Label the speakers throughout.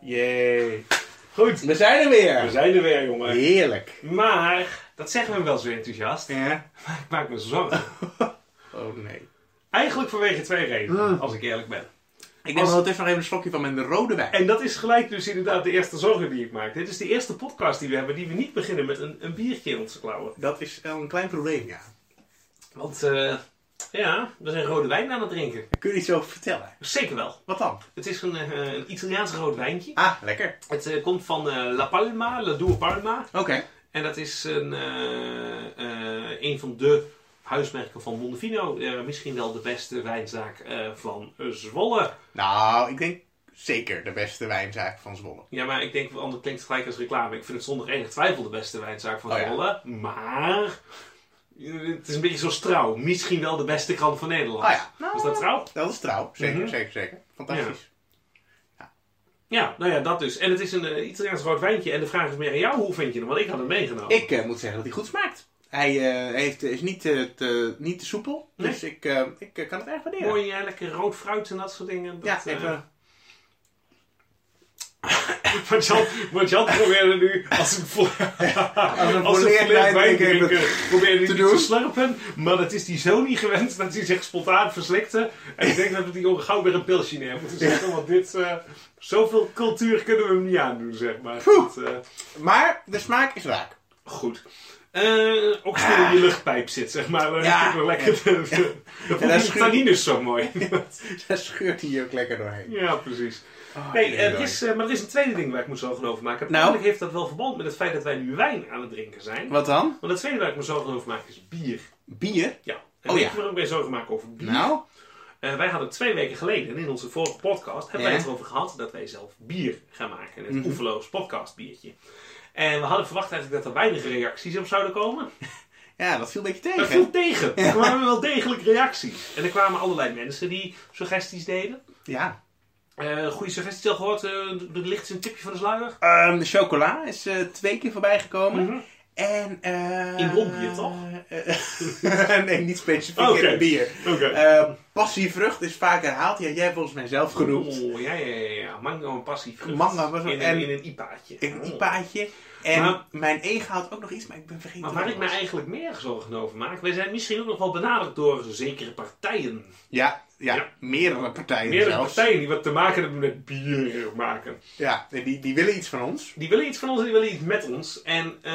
Speaker 1: Jee. Goed,
Speaker 2: We zijn er weer.
Speaker 1: we zijn er weer, jongen.
Speaker 2: Heerlijk.
Speaker 1: Maar, dat zeggen we wel zo enthousiast.
Speaker 2: Ja?
Speaker 1: Maar ik maak me zorgen.
Speaker 2: Oh nee.
Speaker 1: Eigenlijk vanwege twee redenen,
Speaker 2: Mm.
Speaker 1: als ik eerlijk ben.
Speaker 2: Ik
Speaker 1: Als-
Speaker 2: neem altijd even even een slokje van mijn rode wijn.
Speaker 1: En dat is gelijk dus inderdaad de eerste zorgen die ik maak. Dit is de eerste podcast die we hebben die we niet beginnen met een, een biertje in onze klauwen.
Speaker 2: Dat is wel een klein probleem, ja.
Speaker 1: Want, eh, ja, we zijn rode wijn aan het drinken.
Speaker 2: Kun je iets over vertellen?
Speaker 1: Zeker wel.
Speaker 2: Wat dan?
Speaker 1: Het is een, eh, een Italiaans rood wijntje.
Speaker 2: Ah, lekker.
Speaker 1: Het eh, komt van eh, La Palma, La Due Palma.
Speaker 2: Oké.
Speaker 1: En dat is een, eh, eh, een van de huismerken van Mondovino. Eh, misschien wel de beste wijnzaak eh, van eh, Zwolle.
Speaker 2: Nou, ik denk zeker de beste wijnzaak van Zwolle.
Speaker 1: Ja, maar ik denk, want het klinkt gelijk als reclame. Ik vind het zonder enige twijfel de beste wijnzaak van
Speaker 2: Oh ja.
Speaker 1: Zwolle. Maar eh, het is een beetje zoals trouw. Misschien wel de beste krant van Nederland.
Speaker 2: Ah ja.
Speaker 1: Is dat trouw?
Speaker 2: Dat is trouw. Zeker,
Speaker 1: Mhm.
Speaker 2: zeker, zeker. Fantastisch.
Speaker 1: Ja, nou ja, dat dus. En het is een eh, Italiaans rood wijntje. En de vraag is meer aan jou, hoe vind je hem? Want ik had hem meegenomen.
Speaker 2: Ik eh, moet zeggen dat hij goed smaakt. Hij eh, heeft, is niet, eh, te, niet te soepel.
Speaker 1: Nee.
Speaker 2: Dus ik, eh, ik eh, kan het erg waarderen.
Speaker 1: Mooi, eh, lekker rood fruit en dat soort dingen. Dat,
Speaker 2: Ja,
Speaker 1: eh,
Speaker 2: even.
Speaker 1: Want Jan, want Jan probeerde nu, als een, vo- als een
Speaker 2: volleerd
Speaker 1: volleerd
Speaker 2: wijndrinker
Speaker 1: wijndrinker, probeerde hij
Speaker 2: te
Speaker 1: niet
Speaker 2: doen.
Speaker 1: te slurpen. Maar dat is hij zo niet gewend dat hij zich spontaan verslikte. En ik denk dat we die jongen gauw weer een pilsje neer moeten zetten. Want dit, eh, zoveel cultuur kunnen we hem niet aandoen, zeg maar.
Speaker 2: Poeh.
Speaker 1: Dat, eh,
Speaker 2: Maar de smaak is raak.
Speaker 1: goed. Eh, ook stil in je luchtpijp zit, zeg maar. Dan
Speaker 2: Ah. Ja.
Speaker 1: heb je nog lekker de, de, de,
Speaker 2: daar
Speaker 1: de
Speaker 2: schuurt-
Speaker 1: tannines zo mooi.
Speaker 2: Daar scheurt hij hier ook lekker doorheen.
Speaker 1: Ja, precies.
Speaker 2: Oh,
Speaker 1: Nee,
Speaker 2: nee,
Speaker 1: er
Speaker 2: nee.
Speaker 1: is, eh, maar er is een tweede ding waar ik me zorgen over maak. En
Speaker 2: Nou?
Speaker 1: Eigenlijk heeft dat wel verband met het feit dat wij nu wijn aan het drinken zijn.
Speaker 2: Wat dan?
Speaker 1: Maar het tweede waar ik me zorgen over maak is bier.
Speaker 2: Bier?
Speaker 1: Ja. En
Speaker 2: Oh
Speaker 1: ik
Speaker 2: ja.
Speaker 1: wil me ook weer zorgen maken over bier.
Speaker 2: Nou?
Speaker 1: Eh, wij hadden twee weken geleden in onze vorige podcast hebben wij
Speaker 2: Ja.
Speaker 1: het erover gehad dat wij zelf bier gaan maken. Het
Speaker 2: Mhm.
Speaker 1: Oeverloos podcast biertje. En we hadden verwacht eigenlijk dat er weinig reacties op zouden komen.
Speaker 2: Ja, dat viel een beetje
Speaker 1: Dat
Speaker 2: tegen.
Speaker 1: viel tegen. Er kwamen wel degelijk reacties. En er kwamen allerlei mensen die suggesties deden.
Speaker 2: Ja.
Speaker 1: Eh goede suggesties al gehoord. Eh, er ligt een tipje van de sluier.
Speaker 2: Ehm, de chocola is eh, twee keer voorbij gekomen.
Speaker 1: Mhm.
Speaker 2: En... eh,
Speaker 1: In blondbier, toch?
Speaker 2: eh, nee, niet specifiek
Speaker 1: Oké.
Speaker 2: in het bier.
Speaker 1: Oké.
Speaker 2: Eh passievrucht is vaak herhaald. Ja, jij hebt volgens mij zelf genoemd.
Speaker 1: Oh, ja, ja, ja, ja. Mango en passievrucht.
Speaker 2: Mango was-
Speaker 1: in, een-
Speaker 2: en-
Speaker 1: in een IPA'tje.
Speaker 2: In een
Speaker 1: Oh.
Speaker 2: IPA'tje. En
Speaker 1: Maar-
Speaker 2: mijn E haalt ook nog iets, maar ik ben vergeten
Speaker 1: Maar
Speaker 2: wat
Speaker 1: waar
Speaker 2: het
Speaker 1: ik mij
Speaker 2: was.
Speaker 1: eigenlijk meer zorgen over maak, wij zijn misschien ook nog wel benaderd door zekere partijen.
Speaker 2: Ja, ja,
Speaker 1: E- Ja.
Speaker 2: meerdere partijen
Speaker 1: Meerdere
Speaker 2: zelfs.
Speaker 1: partijen die wat te maken hebben met bier maken.
Speaker 2: Ja, nee, die, die willen iets van ons.
Speaker 1: Die willen iets van ons en die willen iets met ons. En eh,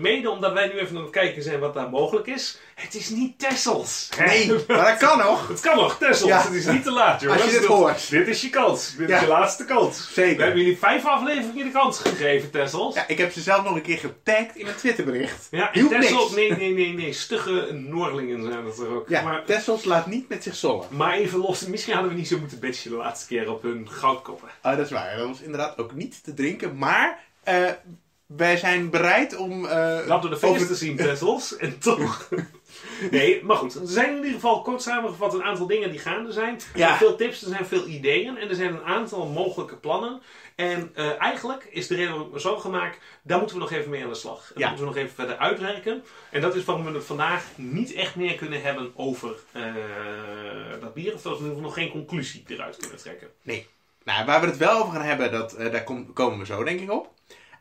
Speaker 1: mede omdat wij nu even aan het kijken zijn wat daar mogelijk is, het is niet Tessels.
Speaker 2: Nee, maar dat kan nog.
Speaker 1: Het kan nog, Tessels.
Speaker 2: Ja.
Speaker 1: Het is niet te laat, jongens.
Speaker 2: Als je dit hoort.
Speaker 1: Dit is je kans. Dit
Speaker 2: Ja.
Speaker 1: is je laatste kans.
Speaker 2: Zeker.
Speaker 1: We hebben jullie vijf afleveringen de kans gegeven, Tessels.
Speaker 2: Ja, ik heb ze zelf nog een keer getagd in een Twitterbericht.
Speaker 1: Ja, en
Speaker 2: Hielp
Speaker 1: Tessel,
Speaker 2: niks.
Speaker 1: nee, nee, nee, nee, stugge Noorlingen zijn dat er ook.
Speaker 2: Ja,
Speaker 1: Maar,
Speaker 2: Tessels laat niet met zich zollen.
Speaker 1: maar even los, misschien hadden we niet zo moeten bitchen de laatste keer op hun goudkoppen.
Speaker 2: Ah, dat is waar. Dat was inderdaad ook niet te drinken. Maar eh, wij zijn bereid om... eh,
Speaker 1: Knap door de vingers
Speaker 2: over-
Speaker 1: te zien, Tessels, en toch. Nee, maar goed, er zijn in ieder geval kort samengevat een aantal dingen die gaande zijn. Er
Speaker 2: Ja.
Speaker 1: zijn veel tips, er zijn veel ideeën en er zijn een aantal mogelijke plannen. En eh, eigenlijk is de reden waarom ik me zo gemaakt, daar moeten we nog even mee aan de slag. En
Speaker 2: Ja.
Speaker 1: Dat moeten we nog even verder uitwerken. En dat is waarom we het vandaag niet echt meer kunnen hebben over eh, dat bier. Of dat we in ieder geval nog geen conclusie eruit kunnen trekken.
Speaker 2: Nee. Nou, waar we het wel over gaan hebben, dat, eh, daar kom- komen we zo denk ik op.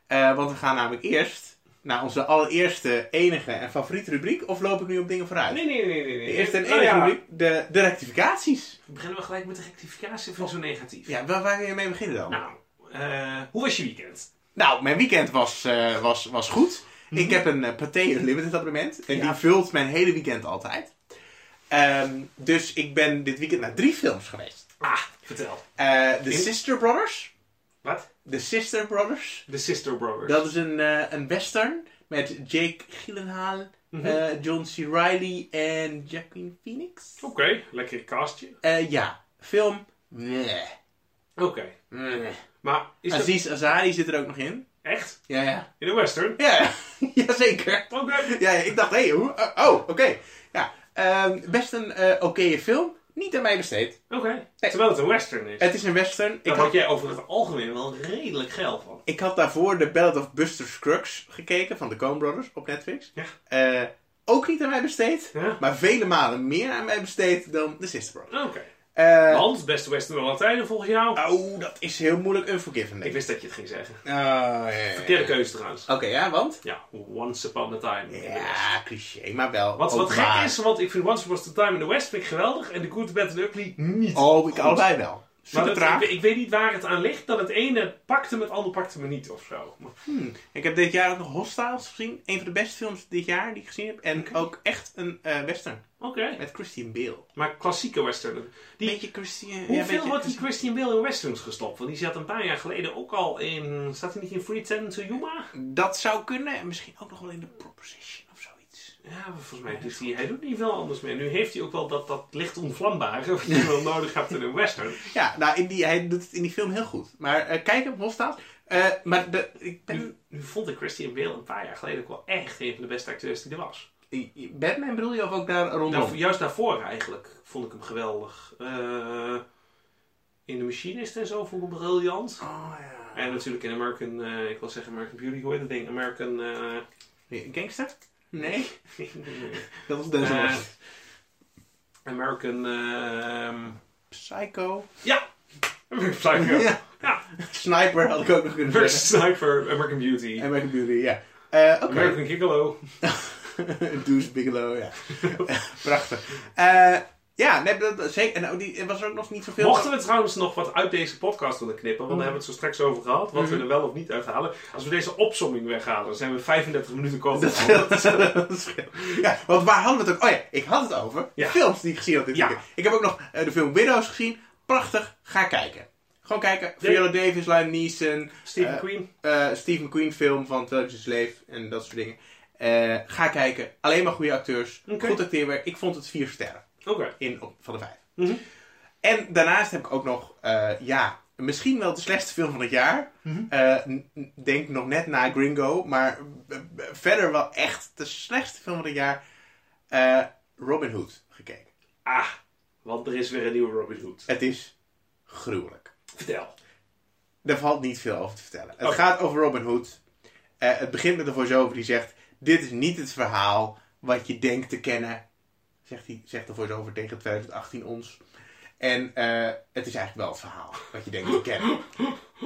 Speaker 2: Eh, want we gaan namelijk eerst naar onze allereerste, enige en favoriete rubriek. Of loop ik nu op dingen vooruit?
Speaker 1: Nee, nee, nee, nee. nee.
Speaker 2: De eerste en
Speaker 1: Nou
Speaker 2: enige
Speaker 1: ja,
Speaker 2: rubriek, de, de rectificaties.
Speaker 1: Beginnen we gelijk met de rectificatie van zo negatief.
Speaker 2: Ja, waar, waar wil je mee beginnen dan?
Speaker 1: Nou, eh, hoe was je weekend?
Speaker 2: Nou, mijn weekend was, eh, was, was goed.
Speaker 1: Mhm.
Speaker 2: Ik heb een eh, Pathé Unlimited abonnement. En
Speaker 1: Ja.
Speaker 2: die vult mijn hele weekend altijd. Ehm, dus ik ben dit weekend naar drie films geweest.
Speaker 1: Ah, vertel.
Speaker 2: Eh, The
Speaker 1: In-
Speaker 2: Sister Brothers.
Speaker 1: Wat?
Speaker 2: The Sister Brothers.
Speaker 1: The Sister Brothers.
Speaker 2: Dat is een, eh, een western met Jake Gyllenhaal,
Speaker 1: Mhm.
Speaker 2: eh, John C. Reilly en Jacqueline Phoenix.
Speaker 1: Oké, lekker kastje.
Speaker 2: Eh, ja, film. Meh.
Speaker 1: Oké.
Speaker 2: Meh.
Speaker 1: Maar is dat
Speaker 2: Aziz Azari zit er ook nog in.
Speaker 1: echt?
Speaker 2: Ja, ja.
Speaker 1: In de western?
Speaker 2: Ja, jazeker.
Speaker 1: Oké.
Speaker 2: Ja, ja, ik dacht, hé, hoe? eh, oh, oké. Ja, ehm, best een eh oké film. Niet aan mij besteed.
Speaker 1: Oké. Terwijl het een western is.
Speaker 2: Het is een western. Ik
Speaker 1: Daar had
Speaker 2: had,
Speaker 1: jij over het algemeen wel redelijk geil van.
Speaker 2: ik had daarvoor de Ballad of Buster Scruggs gekeken van de Coen Brothers op Netflix.
Speaker 1: Ja.
Speaker 2: Eh, ook niet aan mij besteed.
Speaker 1: Ja?
Speaker 2: Maar vele malen meer aan mij besteed dan The Sister Brothers.
Speaker 1: Oké.
Speaker 2: Eh,
Speaker 1: Want, beste Western aller tijden volgens jou.
Speaker 2: oh, dat is heel moeilijk. Unforgiven.
Speaker 1: Ik
Speaker 2: denk ik.
Speaker 1: wist dat je het ging zeggen.
Speaker 2: Oh, ja, ja, ja.
Speaker 1: Verkeerde keuze trouwens.
Speaker 2: Oké, ja, want?
Speaker 1: Ja, Once Upon a Time. in the West.
Speaker 2: Ja, cliché, maar wel.
Speaker 1: Wat,
Speaker 2: ook
Speaker 1: wat gek
Speaker 2: waar.
Speaker 1: is, want ik vind Once Upon a Time in the West vind ik geweldig. En The Good, The Bad and the Ugly niet.
Speaker 2: Oh, ik
Speaker 1: Goed.
Speaker 2: allebei wel.
Speaker 1: Maar
Speaker 2: Super
Speaker 1: dat-
Speaker 2: traag.
Speaker 1: ik, ik weet niet waar het aan ligt. Dat het ene pakte me, het andere pakte me niet of zo. Maar-
Speaker 2: Ik heb dit jaar ook nog Hostiles gezien. Een van de beste films dit jaar die ik gezien heb. En ook echt een eh, western.
Speaker 1: Oké.
Speaker 2: Met Christian Bale.
Speaker 1: Maar klassieke western. Die,
Speaker 2: Beetje Christian... ja,
Speaker 1: hoeveel
Speaker 2: beetje-
Speaker 1: wordt die Christian Bale in westerns gestopt? Want die zat een paar jaar geleden ook al in... Zat hij niet in Free Ten to Yuma?
Speaker 2: Dat zou kunnen. En misschien ook nog wel in de Proposition of zoiets.
Speaker 1: Ja, maar volgens mij doet hij... Hij doet niet veel anders meer. Nu heeft hij ook wel dat, dat licht onvlambare... wat je wel nodig hebt in een western.
Speaker 2: Ja, nou, in die, hij doet het in die film heel goed. Maar eh, kijk hem, Hostiles. Eh, maar de, ik ben...
Speaker 1: Nu, nu vond ik Christian Bale een paar jaar geleden ook wel echt een van de beste acteurs die er was.
Speaker 2: Batman bedoel je of ook daar rondom?
Speaker 1: Daarvoor- juist daarvoor eigenlijk vond ik hem geweldig. Eh, in de machinist en zo vond ik hem briljant.
Speaker 2: Oh ja.
Speaker 1: En natuurlijk in American, eh, ik wil zeggen American Beauty, hoe heet dat ding? American, eh,
Speaker 2: Gangster? Nee. Dat was deze
Speaker 1: Eh,
Speaker 2: was.
Speaker 1: American, ehm,
Speaker 2: Psycho.
Speaker 1: ja! American Psycho. Ja.
Speaker 2: Ja. Sniper had ik ook nog kunnen
Speaker 1: American
Speaker 2: zeggen.
Speaker 1: Sniper, American Beauty.
Speaker 2: En American Beauty, ja. Eh, Oké.
Speaker 1: American Gigolo.
Speaker 2: Deuce Bigelow, ja. Prachtig. Eh, ja, nee, dat, dat- zeker. En nou, die er was er ook nog niet zoveel.
Speaker 1: Mochten we trouwens nog wat uit deze podcast willen knippen, want daar hebben we het zo straks over gehad, wat we
Speaker 2: Mhm.
Speaker 1: er wel of niet uithalen. Als we deze opsomming weghalen, dan zijn we 35 minuten komen.
Speaker 2: Dat scheelt, dat scheelt. Ja, want waar hadden we het ook? Oh ja, ik had het over
Speaker 1: Ja.
Speaker 2: films die ik gezien had dit
Speaker 1: Ja.
Speaker 2: weekend. Ik heb ook nog eh, de film Widows gezien. Prachtig, ga kijken. Gewoon kijken.
Speaker 1: Nee.
Speaker 2: Viola Davis, Liam Neeson,
Speaker 1: Stephen
Speaker 2: Eh,
Speaker 1: Queen.
Speaker 2: eh Steve McQueen film van Twelve Years a Slave en dat soort dingen. Eh, ga kijken. Alleen maar goede acteurs.
Speaker 1: Oké.
Speaker 2: Goed acteerwerk. Ik vond het vier sterren
Speaker 1: Oké.
Speaker 2: in, op, van de vijf.
Speaker 1: Mhm.
Speaker 2: En daarnaast heb ik ook nog, eh, ja, misschien wel de slechtste film van het jaar.
Speaker 1: Mhm.
Speaker 2: Eh, n- n- denk nog net na Gringo, maar b- b- verder wel echt de slechtste film van het jaar. eh, Robin Hood gekeken.
Speaker 1: Ah, want er is weer een nieuwe Robin Hood.
Speaker 2: Het is gruwelijk.
Speaker 1: Vertel.
Speaker 2: Daar valt niet veel over te vertellen. Het
Speaker 1: Oké.
Speaker 2: gaat over Robin Hood. Eh, het begint met een voice-over die zegt: Dit is niet het verhaal wat je denkt te kennen. Zegt, hij, zegt de voice-over tegen 2018 ons. En eh, het is eigenlijk wel het verhaal wat je denkt te kennen.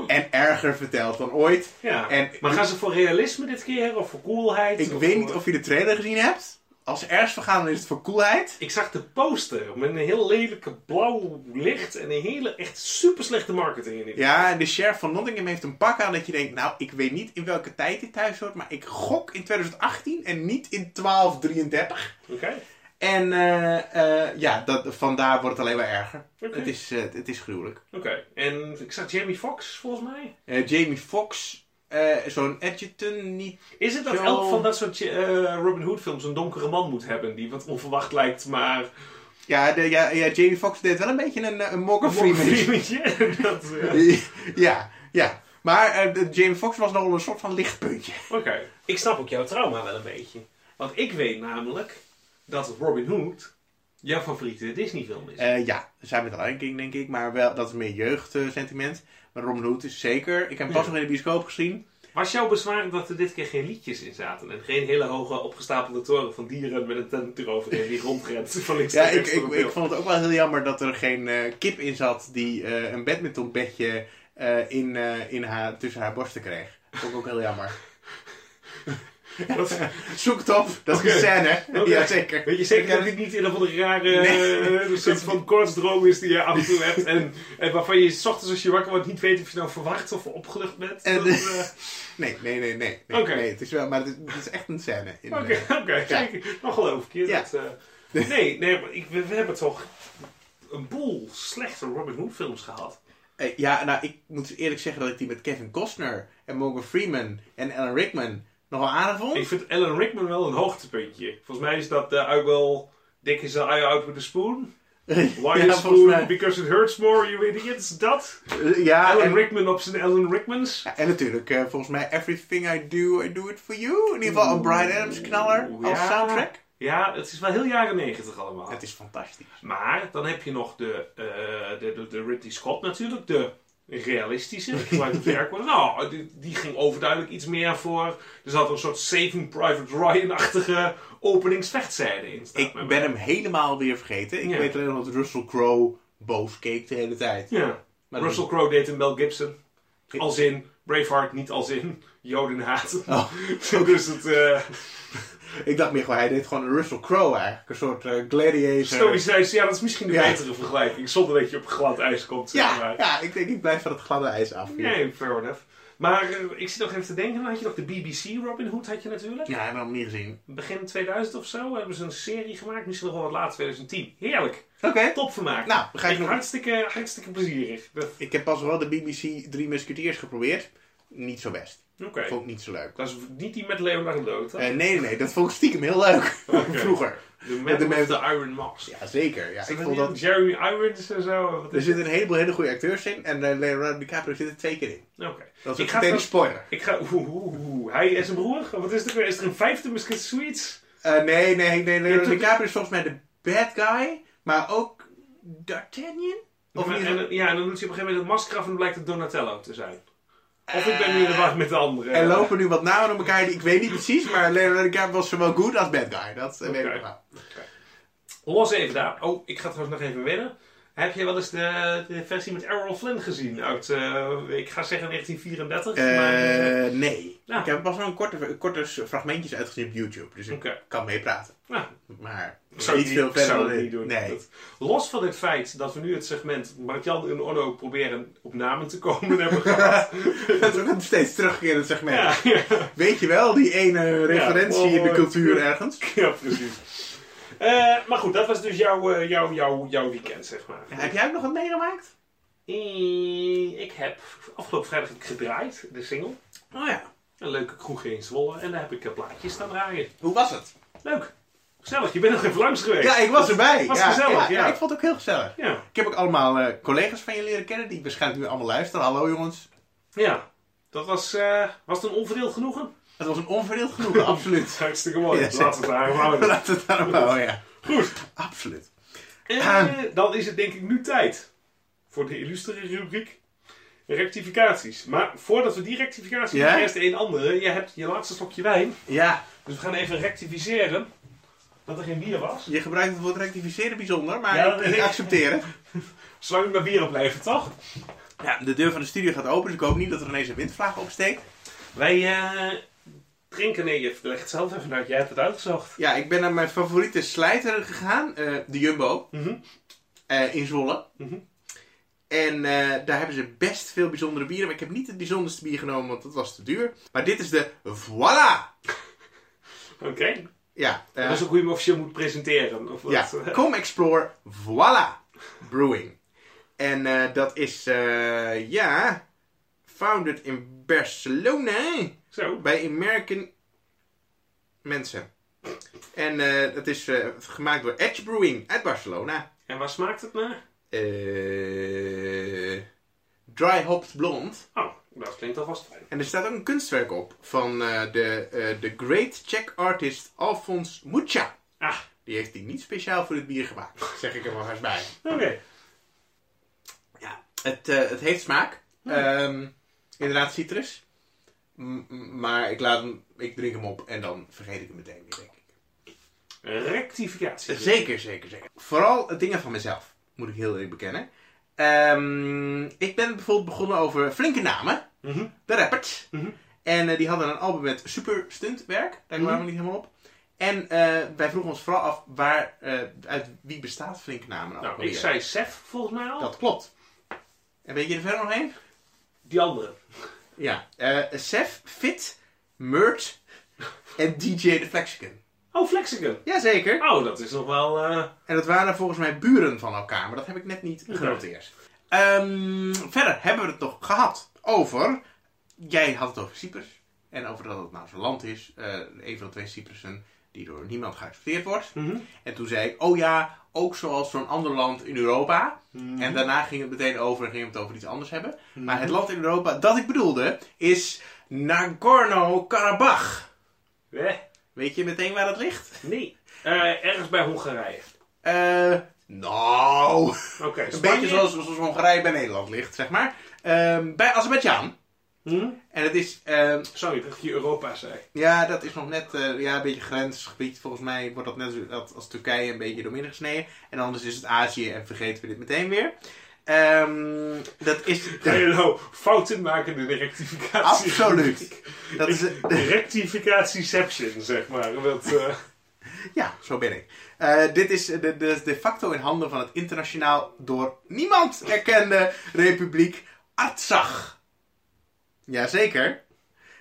Speaker 2: En erger verteld dan ooit.
Speaker 1: Ja.
Speaker 2: En
Speaker 1: maar gaan ze voor realisme dit keer of voor coolheid?
Speaker 2: ik
Speaker 1: Of
Speaker 2: weet
Speaker 1: voor-
Speaker 2: niet of je de trailer gezien hebt. Als er ergens voor gaan, dan is het voor coolheid.
Speaker 1: Ik zag de poster met een heel lelijke blauw licht en een hele echt super slechte marketing in dit.
Speaker 2: Ja, de sheriff van Nottingham heeft een pak aan dat je denkt: Nou, ik weet niet in welke tijd dit thuis hoort, maar ik gok in 2018 en niet in 1233.
Speaker 1: Oké.
Speaker 2: En eh, eh, ja, dat, vandaar wordt het alleen maar erger.
Speaker 1: Oké.
Speaker 2: Het, is, eh, het is gruwelijk.
Speaker 1: Oké. En ik zag Jamie Foxx volgens mij.
Speaker 2: Eh, Jamie Foxx, eh, zo'n adjutant, niet...
Speaker 1: Is het dat
Speaker 2: Zo.
Speaker 1: elk van dat soort eh, Robin Hood films een donkere man moet hebben die wat onverwacht lijkt, maar
Speaker 2: Ja, de, ja, ja Jamie Foxx deed wel een beetje een, eh, een Morgan Freeman.
Speaker 1: Freeman, ja, dat, eh,
Speaker 2: ja, ja. Maar eh, de Jamie Foxx was nog wel een soort van lichtpuntje.
Speaker 1: Oké. Ik snap ook jouw trauma wel een beetje. Want ik weet namelijk dat Robin Hood jouw favoriete Disney-film is.
Speaker 2: Eh, ja, zijn met Lion King, denk ik. Maar wel, dat is meer jeugdsentiment. maar Robin Hood is zeker. Ik heb hem pas
Speaker 1: Ja.
Speaker 2: nog in de bioscoop gezien.
Speaker 1: Was jouw bezwaar dat er dit keer geen liedjes in zaten? En geen hele hoge opgestapelde toren van dieren met een tent eroverheen die rondrent van links
Speaker 2: Ja,
Speaker 1: naar
Speaker 2: ik,
Speaker 1: rechts
Speaker 2: ik,
Speaker 1: door het
Speaker 2: ik
Speaker 1: beeld?
Speaker 2: vond het ook wel heel jammer dat er geen eh, kip in zat die eh, een badmintonbedje eh, in, eh, in haar, tussen haar borsten kreeg. Vond ik ook heel jammer.
Speaker 1: Wat-
Speaker 2: Zoek het op, dat is
Speaker 1: Oké.
Speaker 2: een scène.
Speaker 1: Oké.
Speaker 2: Jazeker.
Speaker 1: Weet je zeker dat
Speaker 2: Ik
Speaker 1: dit niet in een of andere rare
Speaker 2: Nee.
Speaker 1: eh, een soort van koortsdroom is die je af en toe hebt? En, en waarvan je s ochtends als je wakker wordt niet weet of je nou verwacht of opgelucht bent?
Speaker 2: En-
Speaker 1: Dat, eh,
Speaker 2: Nee, nee, nee, nee. nee,
Speaker 1: Oké.
Speaker 2: nee het is wel, maar het is, het is echt een scène. In,
Speaker 1: Oké,
Speaker 2: eh,
Speaker 1: oké, zeker. Dan geloof ik je.
Speaker 2: Ja.
Speaker 1: Dat, eh, nee, nee maar ik, we, we hebben toch een boel slechte Robin Hood films gehad.
Speaker 2: eh, ja, nou, ik moet eerlijk zeggen dat ik die met Kevin Costner en Morgan Freeman en Alan Rickman nogal aardig vond.
Speaker 1: Ik vind Alan Rickman wel een hoogtepuntje. Volgens mij is dat eh I will dick his eye out with a spoon. Why
Speaker 2: ja,
Speaker 1: a
Speaker 2: volgens
Speaker 1: spoon?
Speaker 2: mij.
Speaker 1: Because it hurts more, you idiots. Dat.
Speaker 2: Eh, Ja,
Speaker 1: Alan
Speaker 2: en,
Speaker 1: Rickman op zijn Alan Rickmans.
Speaker 2: ja, en natuurlijk, eh, volgens mij, Everything I Do, I Do It For You. In ieder geval een Brian Adams knaller
Speaker 1: Oeh,
Speaker 2: als
Speaker 1: ja.
Speaker 2: soundtrack.
Speaker 1: Ja, het is wel heel jaren negentig allemaal.
Speaker 2: Het is fantastisch.
Speaker 1: Ah. Maar dan heb je nog de, eh, de, de, de Ridley Scott natuurlijk, de realistische. Ik gebruik het werk wel. Nou, die, die ging overduidelijk iets meer voor. Er zat een soort Saving Private Ryan-achtige openingsvechtzijde in. staat
Speaker 2: Ik
Speaker 1: mij bij.
Speaker 2: ben hem helemaal weer vergeten. Ik
Speaker 1: Ja.
Speaker 2: weet alleen nog dat Russell Crowe boos keek de hele tijd.
Speaker 1: Ja.
Speaker 2: Maar dat-
Speaker 1: Russell Crowe deed een Mel Gibson.
Speaker 2: Ge-
Speaker 1: Als in Braveheart, niet als in Jodenhaat.
Speaker 2: Oh.
Speaker 1: dus het eh
Speaker 2: Ik dacht meer gewoon, hij deed gewoon een Russell Crowe eigenlijk. Een soort eh, gladiator.
Speaker 1: stoïcijns, ja, dat is misschien de
Speaker 2: Ja.
Speaker 1: betere vergelijking. Zonder dat je op glad ijs komt, zeg
Speaker 2: Ja,
Speaker 1: maar.
Speaker 2: ja, ik denk ik blijf van het gladde ijs af.
Speaker 1: Nee, fair enough. Maar eh, ik zit nog even te denken, dan had je nog de BBC Robin Hood, had je natuurlijk.
Speaker 2: Ja, ik heb hem niet gezien.
Speaker 1: Begin 2000 of zo hebben ze een serie gemaakt, misschien nog wel wat later, 2010. Heerlijk.
Speaker 2: Oké.
Speaker 1: Topvermaak.
Speaker 2: Nou, we gaan
Speaker 1: Echt
Speaker 2: nog-
Speaker 1: hartstikke, hartstikke plezierig. Dat-
Speaker 2: Ik heb pas wel de BBC Drie Musketeers geprobeerd. Niet zo best.
Speaker 1: Oké.
Speaker 2: Vond ik niet zo leuk.
Speaker 1: Dat is niet die met Leonardo, toch?
Speaker 2: Eh, nee, nee, nee, dat vond ik stiekem heel leuk.
Speaker 1: Oké.
Speaker 2: Vroeger.
Speaker 1: De Man
Speaker 2: de
Speaker 1: of
Speaker 2: Man-
Speaker 1: the Iron Mask.
Speaker 2: Ja, zeker. Ja, ik
Speaker 1: Zit er
Speaker 2: vond
Speaker 1: niet
Speaker 2: dat... Dus
Speaker 1: Jeremy Irons en zo. Wat is
Speaker 2: Er
Speaker 1: het?
Speaker 2: zitten een heleboel hele goede acteurs in. En eh, Leonardo DiCaprio zit er twee keer in.
Speaker 1: Oké.
Speaker 2: Dat is
Speaker 1: Ik
Speaker 2: ook
Speaker 1: ga
Speaker 2: meteen een
Speaker 1: het-
Speaker 2: spoiler.
Speaker 1: Ik ga. Oeh, oeh, oeh, oeh. Hij en zijn broer. Wat is het? ook weer? Is er een vijfde misschien Sweets?
Speaker 2: Eh, nee, nee, nee. Leonardo
Speaker 1: hebt ook-
Speaker 2: DiCaprio is volgens mij de bad guy. Maar ook D'Artagnan? Of
Speaker 1: En,
Speaker 2: niet?
Speaker 1: en- ja, en dan doet hij op een gegeven moment het masker af en dan blijkt het Donatello te zijn. Of ik ben nu in de war met de andere.
Speaker 2: Eh, Er lopen nu wat namen op elkaar. die Ik weet niet precies. Maar Leonardo DiCaprio was zowel goed als bad guy. Dat eh, weet ik
Speaker 1: Oké.
Speaker 2: nog wel.
Speaker 1: Los even daar. Oh, ik ga trouwens nog even winnen. Heb je wel eens de, de versie met Errol Flynn gezien? Uit, eh, ik ga zeggen 1934. maar, eh,
Speaker 2: Eh, nee.
Speaker 1: nou.
Speaker 2: Ik heb pas wel een korte, korte fragmentjes uitgezien op YouTube. Dus ik
Speaker 1: Oké.
Speaker 2: kan meepraten.
Speaker 1: nou,
Speaker 2: Maar
Speaker 1: Ik zou
Speaker 2: niet
Speaker 1: het
Speaker 2: veel
Speaker 1: niet, ik
Speaker 2: verder
Speaker 1: zou
Speaker 2: dan
Speaker 1: het niet
Speaker 2: dit.
Speaker 1: doen.
Speaker 2: Nee.
Speaker 1: Dat- los van het feit dat we nu het segment Martjan en Onno proberen op namen te komen hebben gehad.
Speaker 2: Dat is ook een steeds terugkerend segment.
Speaker 1: ja, ja,
Speaker 2: Weet je wel, die ene referentie in de
Speaker 1: mooi.
Speaker 2: cultuur ergens?
Speaker 1: ja, precies. Eh, maar goed, dat was dus jouw, eh, jouw, jouw, jouw weekend, zeg maar.
Speaker 2: Ja, heb jij ook nog wat meegemaakt?
Speaker 1: Eh, Ik heb afgelopen vrijdag heb ik gedraaid, de single.
Speaker 2: Oh ja.
Speaker 1: Een leuke kroeg in Zwolle. En daar heb ik eh, plaatjes staan draaien.
Speaker 2: Hoe was het?
Speaker 1: Leuk. Gezellig. Je bent nog even langs geweest.
Speaker 2: Ja, ik was erbij.
Speaker 1: was
Speaker 2: ja,
Speaker 1: gezellig,
Speaker 2: ja,
Speaker 1: ja.
Speaker 2: Ik vond het ook heel gezellig.
Speaker 1: Ja.
Speaker 2: Ik heb ook allemaal eh, collega's van je leren kennen die waarschijnlijk nu allemaal luisteren. Hallo jongens.
Speaker 1: ja. Dat was, eh, was het een onverdeeld genoegen?
Speaker 2: Het was een onverdeeld genoegen, absoluut.
Speaker 1: Hartstikke mooi.
Speaker 2: Ja,
Speaker 1: Laten we het daar houden.
Speaker 2: Laat het daarom houden, ja.
Speaker 1: Goed.
Speaker 2: Absoluut.
Speaker 1: Eh, dan is het denk ik nu tijd voor de illustere rubriek rectificaties. Maar voordat we die rectificaties
Speaker 2: Ja?
Speaker 1: doen, eerst een andere. Je hebt je laatste slokje wijn,
Speaker 2: Ja,
Speaker 1: dus we gaan even rectificeren dat er geen bier was.
Speaker 2: je gebruikt het woord rectificeren bijzonder, maar
Speaker 1: Ja,
Speaker 2: ik-
Speaker 1: nee.
Speaker 2: ik accepteer het.
Speaker 1: Zolang het maar bier oplevert, toch?
Speaker 2: Ja, de deur van de studio gaat open, dus ik hoop niet dat er ineens een windvlaag opsteekt.
Speaker 1: Wij eh, drinken, nee, je legt het zelf even uit. Jij hebt het uitgezocht.
Speaker 2: Ja, ik ben naar mijn favoriete slijter gegaan, eh, de Jumbo,
Speaker 1: Mhm.
Speaker 2: eh, in Zwolle.
Speaker 1: Mhm.
Speaker 2: En eh, daar hebben ze best veel bijzondere bieren, maar ik heb niet het bijzonderste bier genomen, want dat was te duur. Maar dit is de Voilà!
Speaker 1: Oké,
Speaker 2: Ja, eh,
Speaker 1: dat is ook hoe je hem officieel moet presenteren. Of wat? eh,
Speaker 2: ja Come Explore Voilà Brewing. En eh, dat is, eh, ja, founded in Barcelona.
Speaker 1: Zo,
Speaker 2: bij American mensen. En eh dat is eh, gemaakt door Edge Brewing uit Barcelona.
Speaker 1: en waar smaakt het naar?
Speaker 2: Eh, dry hopped blond.
Speaker 1: Oh, dat klinkt alvast fijn.
Speaker 2: En er staat ook een kunstwerk op van eh, de, eh, de great Czech artist Alfons Mucha.
Speaker 1: Ah,
Speaker 2: Die heeft die niet speciaal voor dit bier gemaakt, zeg ik er maar eens bij.
Speaker 1: oké.
Speaker 2: Ja, het, eh, het heeft smaak.
Speaker 1: Hmm.
Speaker 2: Ehm, inderdaad, citrus. M- m- maar ik, laat hem, ik drink hem op en dan vergeet ik hem meteen weer, denk ik.
Speaker 1: Rectificatie.
Speaker 2: Eh, Zeker, zeker, zeker. Vooral het dingen van mezelf, moet ik heel eerlijk bekennen. Ehm, ik ben bijvoorbeeld begonnen over Flinke Namen,
Speaker 1: Mhm.
Speaker 2: de rappers.
Speaker 1: Mhm.
Speaker 2: En eh, die hadden een album met super stuntwerk, daar kwamen
Speaker 1: Mhm.
Speaker 2: we niet helemaal op. En eh, wij vroegen ons vooral af waar, eh, uit wie bestaat Flinke Namen nou?
Speaker 1: Nou,
Speaker 2: alweer.
Speaker 1: ik zei Sef volgens mij al.
Speaker 2: Dat klopt. En weet je er verder nog heen?
Speaker 1: Die andere.
Speaker 2: Ja. Eh Sef, Fit, Murt en DJ The Flexicon.
Speaker 1: Oh, Flexicon.
Speaker 2: Jazeker.
Speaker 1: Oh, dat is nog wel... eh,
Speaker 2: En dat waren volgens mij buren van elkaar, maar dat heb ik net niet
Speaker 1: Oké.
Speaker 2: genoteerd. Ehm, verder hebben we het nog gehad over. Jij had het over Cyprus. En over dat het nou zo'n land is. eh, een van de twee Cyprussen die door niemand geaccepteerd wordt.
Speaker 1: mhm.
Speaker 2: En toen zei ik, oh ja, ook zoals zo'n ander land in Europa.
Speaker 1: Mhm.
Speaker 2: En daarna ging het meteen over en ging we het over iets anders hebben. Maar het land in Europa dat ik bedoelde is Nagorno-Karabakh.
Speaker 1: Eh,
Speaker 2: Weet je meteen waar dat ligt?
Speaker 1: nee. Eh, ergens bij Hongarije.
Speaker 2: Eh, nou.
Speaker 1: Oké,
Speaker 2: Een
Speaker 1: Spanje.
Speaker 2: beetje zoals, zoals Hongarije bij Nederland ligt, zeg maar. Ehm, bij Azerbeidzjan.
Speaker 1: Hm?
Speaker 2: En het is, ehm,
Speaker 1: Sorry dat ik je Europa zei.
Speaker 2: ja, dat is nog net eh, ja, een beetje grensgebied. Volgens mij wordt dat net zo- dat als Turkije een beetje doormidden gesneden. En anders is het Azië en vergeten we dit meteen weer. Ehm, dat is.
Speaker 1: Ga je nou fouten maken in de rectificatie?
Speaker 2: Absoluut. Dat is,
Speaker 1: Rectificatieception, zeg maar. Dat, eh,
Speaker 2: ja, zo ben ik. Eh, dit is de, de, de facto in handen van het internationaal door niemand erkende republiek Artsakh. Jazeker.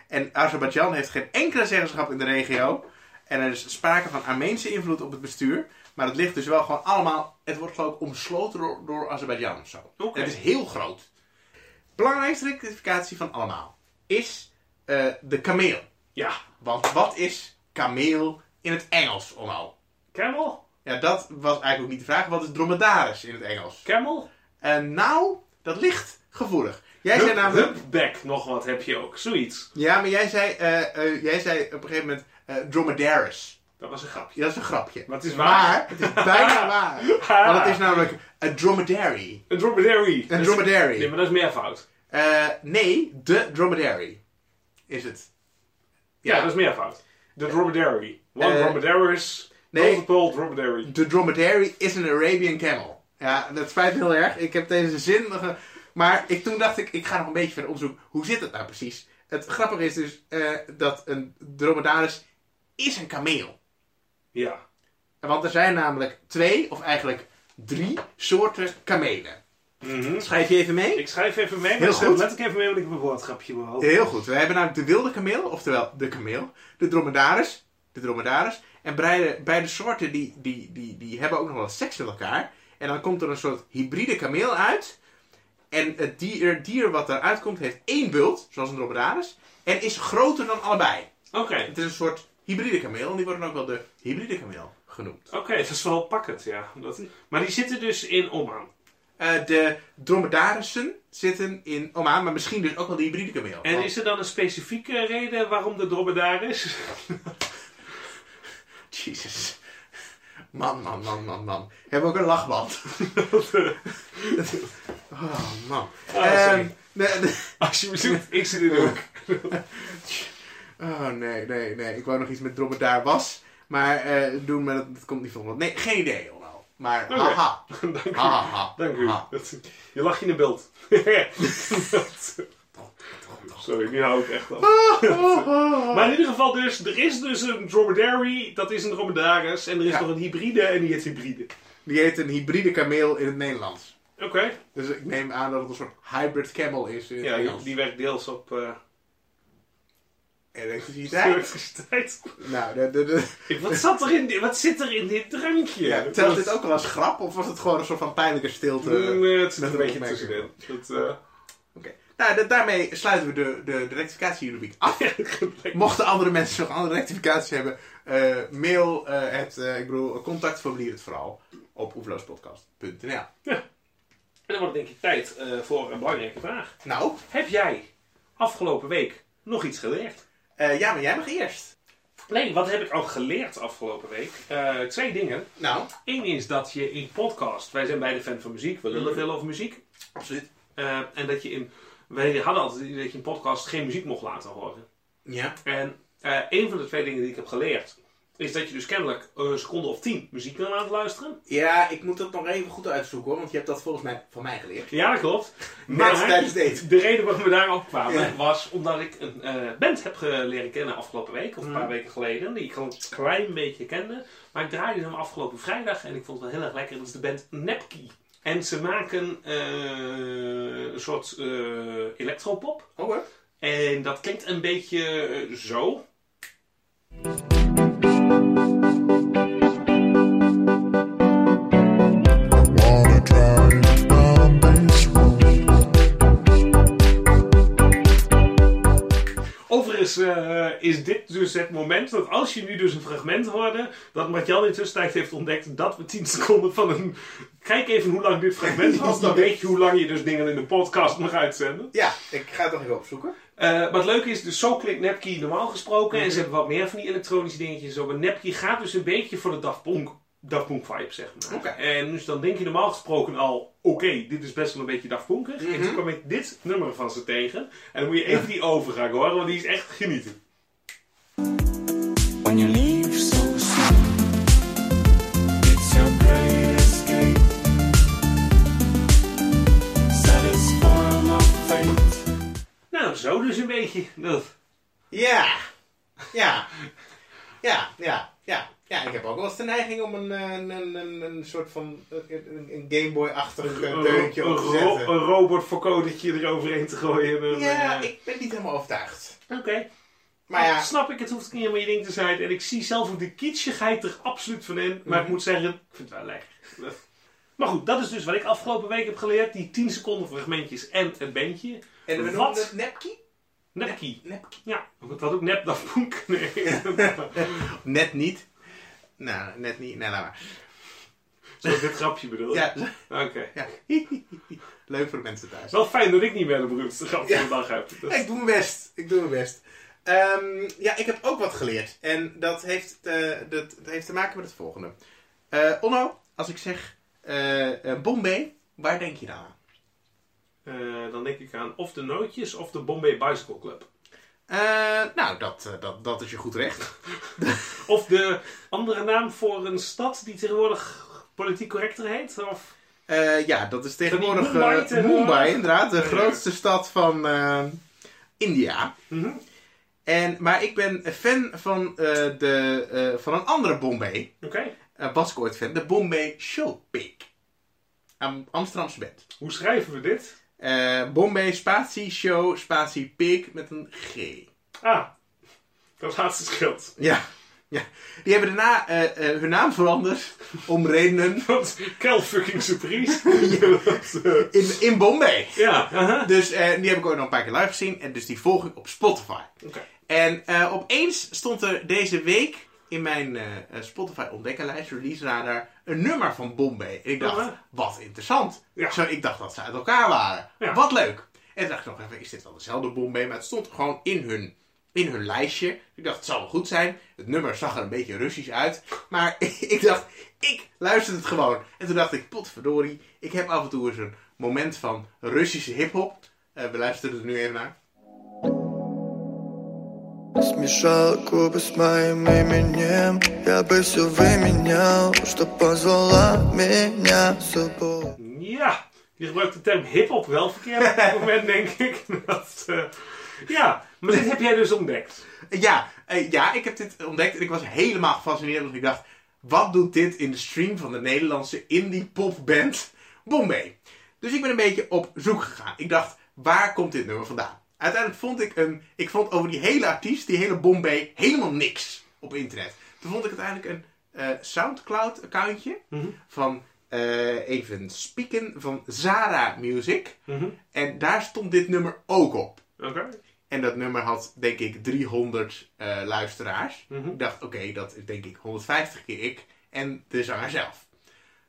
Speaker 2: En Azerbeidzjan heeft geen enkele zeggenschap in de regio. En er is sprake van Armeense invloed op het bestuur. Maar het ligt dus wel gewoon allemaal. Het wordt geloof ik omsloten door, door Azerbeidzjan of zo.
Speaker 1: Oké.
Speaker 2: Het is heel groot. Belangrijkste rectificatie van allemaal is eh, de kameel.
Speaker 1: ja,
Speaker 2: Want wat is kameel in het Engels, Onno?
Speaker 1: camel?
Speaker 2: Ja, dat was eigenlijk ook niet de vraag. Wat is dromedaris in het Engels?
Speaker 1: Camel?
Speaker 2: En nou, dat ligt gevoelig. Jij zei
Speaker 1: Hup,
Speaker 2: namelijk...
Speaker 1: hupback, nog wat heb je ook. Zoiets.
Speaker 2: Ja, maar jij zei, eh, eh, jij zei op een gegeven moment eh, dromedaris.
Speaker 1: Dat was een grapje.
Speaker 2: Ja, dat is een grapje.
Speaker 1: Maar het is
Speaker 2: Maar
Speaker 1: waar.
Speaker 2: het is bijna waar.
Speaker 1: Ah,
Speaker 2: Want het is namelijk een dromedary.
Speaker 1: Een dromedary.
Speaker 2: Een
Speaker 1: Dus-
Speaker 2: dromedary.
Speaker 1: Nee, maar dat is meervoud.
Speaker 2: Eh, nee, de dromedary is het.
Speaker 1: Ja, dat is meervoud. De dromedary. One
Speaker 2: Eh,
Speaker 1: dromedaris.
Speaker 2: nee.
Speaker 1: Multiple dromedary.
Speaker 2: De dromedary is een Arabian camel. Ja, dat spijt me heel erg. Ik heb deze zin. nog een- Maar ik, toen dacht ik, ik ga nog een beetje verder onderzoeken. Hoe zit het nou precies? Het grappige is dus eh, dat een dromedaris is een kameel.
Speaker 1: Ja.
Speaker 2: Want er zijn namelijk twee, of eigenlijk drie soorten kamelen.
Speaker 1: Mhm.
Speaker 2: Schrijf je even mee?
Speaker 1: Ik schrijf even mee.
Speaker 2: Heel
Speaker 1: Heel
Speaker 2: goed.
Speaker 1: goed. Let ik even mee, want ik heb een woordgrapje in mijn hoofd.
Speaker 2: Heel goed. We hebben namelijk de wilde kameel, oftewel de kameel, de dromedaris, de dromedaris. En beide, beide soorten die, die, die, die hebben ook nog wel seks met elkaar. En dan komt er een soort hybride kameel uit. En het dier, dier wat daaruit komt heeft één bult, zoals een dromedaris, en is groter dan allebei.
Speaker 1: Oké.
Speaker 2: Het is een soort hybride kameel en die worden ook wel de hybride kameel genoemd.
Speaker 1: Oké, dat is wel pakkend, ja. Dat... Maar die zitten dus in Oman.
Speaker 2: Eh, de dromedarissen zitten in Oman, maar misschien dus ook wel de hybride kameel.
Speaker 1: En
Speaker 2: Want-
Speaker 1: is er dan een specifieke reden waarom de dromedaris?
Speaker 2: Jezus. Man, man, man, man, man. Hebben we ook een lachband? oh, man.
Speaker 1: Ah, sorry.
Speaker 2: Ehm, de- de-
Speaker 1: Als je me ziet, ik zit in de hoek.
Speaker 2: oh, nee, nee, nee. Ik wou nog iets met dromedaar was. Maar eh, doen, maar dat, dat komt niet van. Nee, geen idee, allemaal. Maar
Speaker 1: Oké.
Speaker 2: haha.
Speaker 1: Dank u.
Speaker 2: Haha.
Speaker 1: Dank u.
Speaker 2: Haha.
Speaker 1: Dat- Je lacht je in beeld. Sorry, nu hou ik echt af. Maar in ieder geval dus, er is dus een dromedary, dat is een dromedaris. En er is
Speaker 2: Ja.
Speaker 1: nog een hybride en die heet hybride.
Speaker 2: Die heet een hybride kameel in het Nederlands.
Speaker 1: Oké.
Speaker 2: Dus ik neem aan dat het een soort hybrid camel is in het
Speaker 1: Ja, die,
Speaker 2: Engels.
Speaker 1: die werkt deels op eh
Speaker 2: Elektriciteit?
Speaker 1: elektriciteit.
Speaker 2: Nou, de, de, de-
Speaker 1: Ik- Wat, zat er in, di- wat zit er in dit drankje?
Speaker 2: ja, telt dit ook wel als grap? Of was het gewoon een soort van pijnlijke stilte?
Speaker 1: Nee, Mm, eh, het zit
Speaker 2: Met
Speaker 1: een
Speaker 2: een
Speaker 1: beetje
Speaker 2: opmerking.
Speaker 1: tussenin. Dat, eh,
Speaker 2: Oké. Nou, da- daarmee sluiten we de, de, de rectificatie-rubriek af. Mochten andere mensen nog andere rectificaties hebben, eh, mail eh, het, eh, ik bedoel, contactformulier het vooral op oeverloospodcast.nl.
Speaker 1: En dan wordt het denk ik tijd eh, voor een belangrijke vraag.
Speaker 2: Nou,
Speaker 1: Heb jij afgelopen week nog iets geleerd?
Speaker 2: eh, ja, maar jij mag eerst.
Speaker 1: Nee, wat heb ik al geleerd afgelopen week? Eh, twee dingen.
Speaker 2: Nou,
Speaker 1: Eén is dat je in podcast, wij zijn beide fan van muziek, we lullen veel over muziek.
Speaker 2: absoluut.
Speaker 1: Eh, en dat je in, wij hadden altijd het idee dat je in podcast geen muziek mocht laten horen.
Speaker 2: Ja.
Speaker 1: En eh een van de twee dingen die ik heb geleerd, is dat je dus kennelijk een seconde of tien muziek kan laten luisteren.
Speaker 2: Ja, ik moet dat nog even goed uitzoeken hoor, want je hebt dat volgens mij van mij geleerd.
Speaker 1: Ja, dat klopt.
Speaker 2: Net tijdens het eten.
Speaker 1: De reden waarom we daarop kwamen
Speaker 2: Ja.
Speaker 1: was omdat ik een eh, band heb ge- leren kennen afgelopen week, of een paar weken geleden, die ik al een klein beetje kende. Maar ik draaide hem afgelopen vrijdag en ik vond het wel heel erg lekker. Dat is de band Nepki. En ze maken eh, een soort eh electropop.
Speaker 2: Oh hoor.
Speaker 1: En dat klinkt een beetje eh, zo.
Speaker 3: Wanna drive down this road.
Speaker 1: Overigens eh, is dit dus het moment dat als je nu dus een fragment hoorde, dat Martjan in tussentijd heeft ontdekt dat we 10 seconden van een... Kijk even hoe lang dit fragment was, dan weet je hoe lang je dus dingen in de podcast mag uitzenden.
Speaker 2: Ja, ik ga het nog even opzoeken.
Speaker 1: Eh, maar het leuke is, dus zo klinkt Mhm. Nepki normaal gesproken en ze hebben wat meer van die elektronische dingetjes. Zo, maar Nepki gaat dus een beetje voor de Daft Punk Daft Punk vibe, zeg maar.
Speaker 2: Oké.
Speaker 1: En dus dan denk je normaal gesproken al, oké, dit is best wel een beetje Daft Punkig. En toen kwam ik dit nummer van ze tegen. En dan moet je even die over gaan horen, want die is echt genieten.
Speaker 4: when you leave so soon. It's your great escape. Set its form of fate.
Speaker 1: Nou, zo dus een beetje. Dat,
Speaker 2: Ja. Ja. Ja, ja, ja. Ja, ik heb ook wel eens de neiging om een, eh, een, een, een, een soort van eh, een, een Gameboy-achtig eh,
Speaker 1: een,
Speaker 2: deuntje
Speaker 1: ro-
Speaker 2: op te
Speaker 1: ro-
Speaker 2: zetten.
Speaker 1: een robot voor codetje eroverheen te gooien. En,
Speaker 2: Ja,
Speaker 1: eh,
Speaker 2: ik ben niet helemaal overtuigd.
Speaker 1: Oké.
Speaker 2: Maar ja,
Speaker 1: snap ik, het hoeft niet helemaal je ding te zijn. En ik zie zelf ook de kitschigheid er absoluut van in.
Speaker 2: Mhm.
Speaker 1: Maar ik moet zeggen, ik vind het wel lekker. Maar goed, dat is dus wat ik afgelopen week heb geleerd. Die 10 seconden fragmentjes en het bandje.
Speaker 2: en we noemen
Speaker 1: Wat?
Speaker 2: het nepkie?
Speaker 1: Nepkie.
Speaker 2: Nepkie.
Speaker 1: Ja, want het had ook nep dat boek. Nee.
Speaker 2: Net niet. Nou, net niet. Nee, laat maar.
Speaker 1: Zoals dit grapje bedoel je?
Speaker 2: Ja,
Speaker 1: Oké.
Speaker 2: ja. Leuk voor de mensen thuis.
Speaker 1: Het is wel fijn dat ik niet meer de beroemdste grap van de dag heb. Dat is-
Speaker 2: Ik doe mijn best. Ik doe mijn best. Ehm, ja, ik heb ook wat geleerd. En dat heeft, eh, dat, dat heeft te maken met het volgende. Eh, Onno, als ik zeg eh, eh, Bombay, waar denk je dan aan?
Speaker 1: Eh, dan denk ik aan of de Nootjes of de Bombay Bicycle Club.
Speaker 2: Eh, nou, dat, eh, dat, dat is je goed recht.
Speaker 1: Of de andere naam voor een stad die tegenwoordig politiek correcter heet. Of...
Speaker 2: Eh, ja, dat is tegenwoordig
Speaker 1: Van die Mumbai
Speaker 2: eh,
Speaker 1: tegenwoordig.
Speaker 2: Mumbai, inderdaad. De
Speaker 1: Ja.
Speaker 2: grootste stad van eh, India.
Speaker 1: Mhm.
Speaker 2: En, maar ik ben fan van, eh, de, eh, van een andere Bombay.
Speaker 1: Oké.
Speaker 2: Eh, was ik ooit fan. De Bombay Showpick. Am Amsterdamse band.
Speaker 1: Hoe schrijven we dit?
Speaker 2: Eh, Bombay Spatie Show Spatie Pig met een G.
Speaker 1: Ah, dat laatste scheelt.
Speaker 2: Ja. ja. Die hebben daarna eh, eh, hun naam veranderd om redenen
Speaker 1: Want Kel fucking surprise. ja, dat, eh,
Speaker 2: in, in Bombay.
Speaker 1: ja, aha.
Speaker 2: Dus eh, die heb ik ook nog een paar keer live gezien en dus die volg ik op Spotify.
Speaker 1: Oké.
Speaker 2: En eh, opeens stond er deze week in mijn eh, eh, Spotify ontdekkerlijst, Release Radar, een nummer van Bombay. En ik dacht,
Speaker 1: Oh, hè?
Speaker 2: wat interessant.
Speaker 1: Ja.
Speaker 2: Zo, ik dacht dat ze uit elkaar waren.
Speaker 1: Ja.
Speaker 2: Wat leuk. En toen dacht ik nog even, is dit wel dezelfde Bombay? Maar het stond gewoon in hun, in hun lijstje. Dus ik dacht, het zal wel goed zijn. Het nummer zag er een beetje Russisch uit. Maar ik dacht, ik luister het gewoon. En toen dacht ik, potverdorie, ik heb af en toe eens een moment van Russische hiphop. Eh we luisteren er nu even naar.
Speaker 5: Смешал губы с моим именем Я бы все выменял, что позвала меня с собой
Speaker 1: ja, je gebruikt de term hip-hop wel verkeerd op dit moment, denk ik. Dat, eh, ja, maar dit heb jij dus ontdekt.
Speaker 2: Ja, eh, ja, ik heb dit ontdekt en ik was helemaal gefascineerd. Want ik dacht, wat doet dit in de stream van de Nederlandse indie popband Bombay? Dus ik ben een beetje op zoek gegaan. Ik dacht, waar komt dit nummer vandaan? Uiteindelijk vond ik een... Ik vond over die hele artiest, die hele Bombay, helemaal niks op internet. Toen vond ik uiteindelijk een eh, Soundcloud-accountje van eh, even Spieken van Zara Music.
Speaker 1: Mhm.
Speaker 2: En daar stond dit nummer ook op.
Speaker 1: Oké.
Speaker 2: En dat nummer had, denk ik, 300 eh, luisteraars.
Speaker 1: Mhm.
Speaker 2: Ik dacht, oké, dat is denk ik 150 keer ik en de zanger zelf.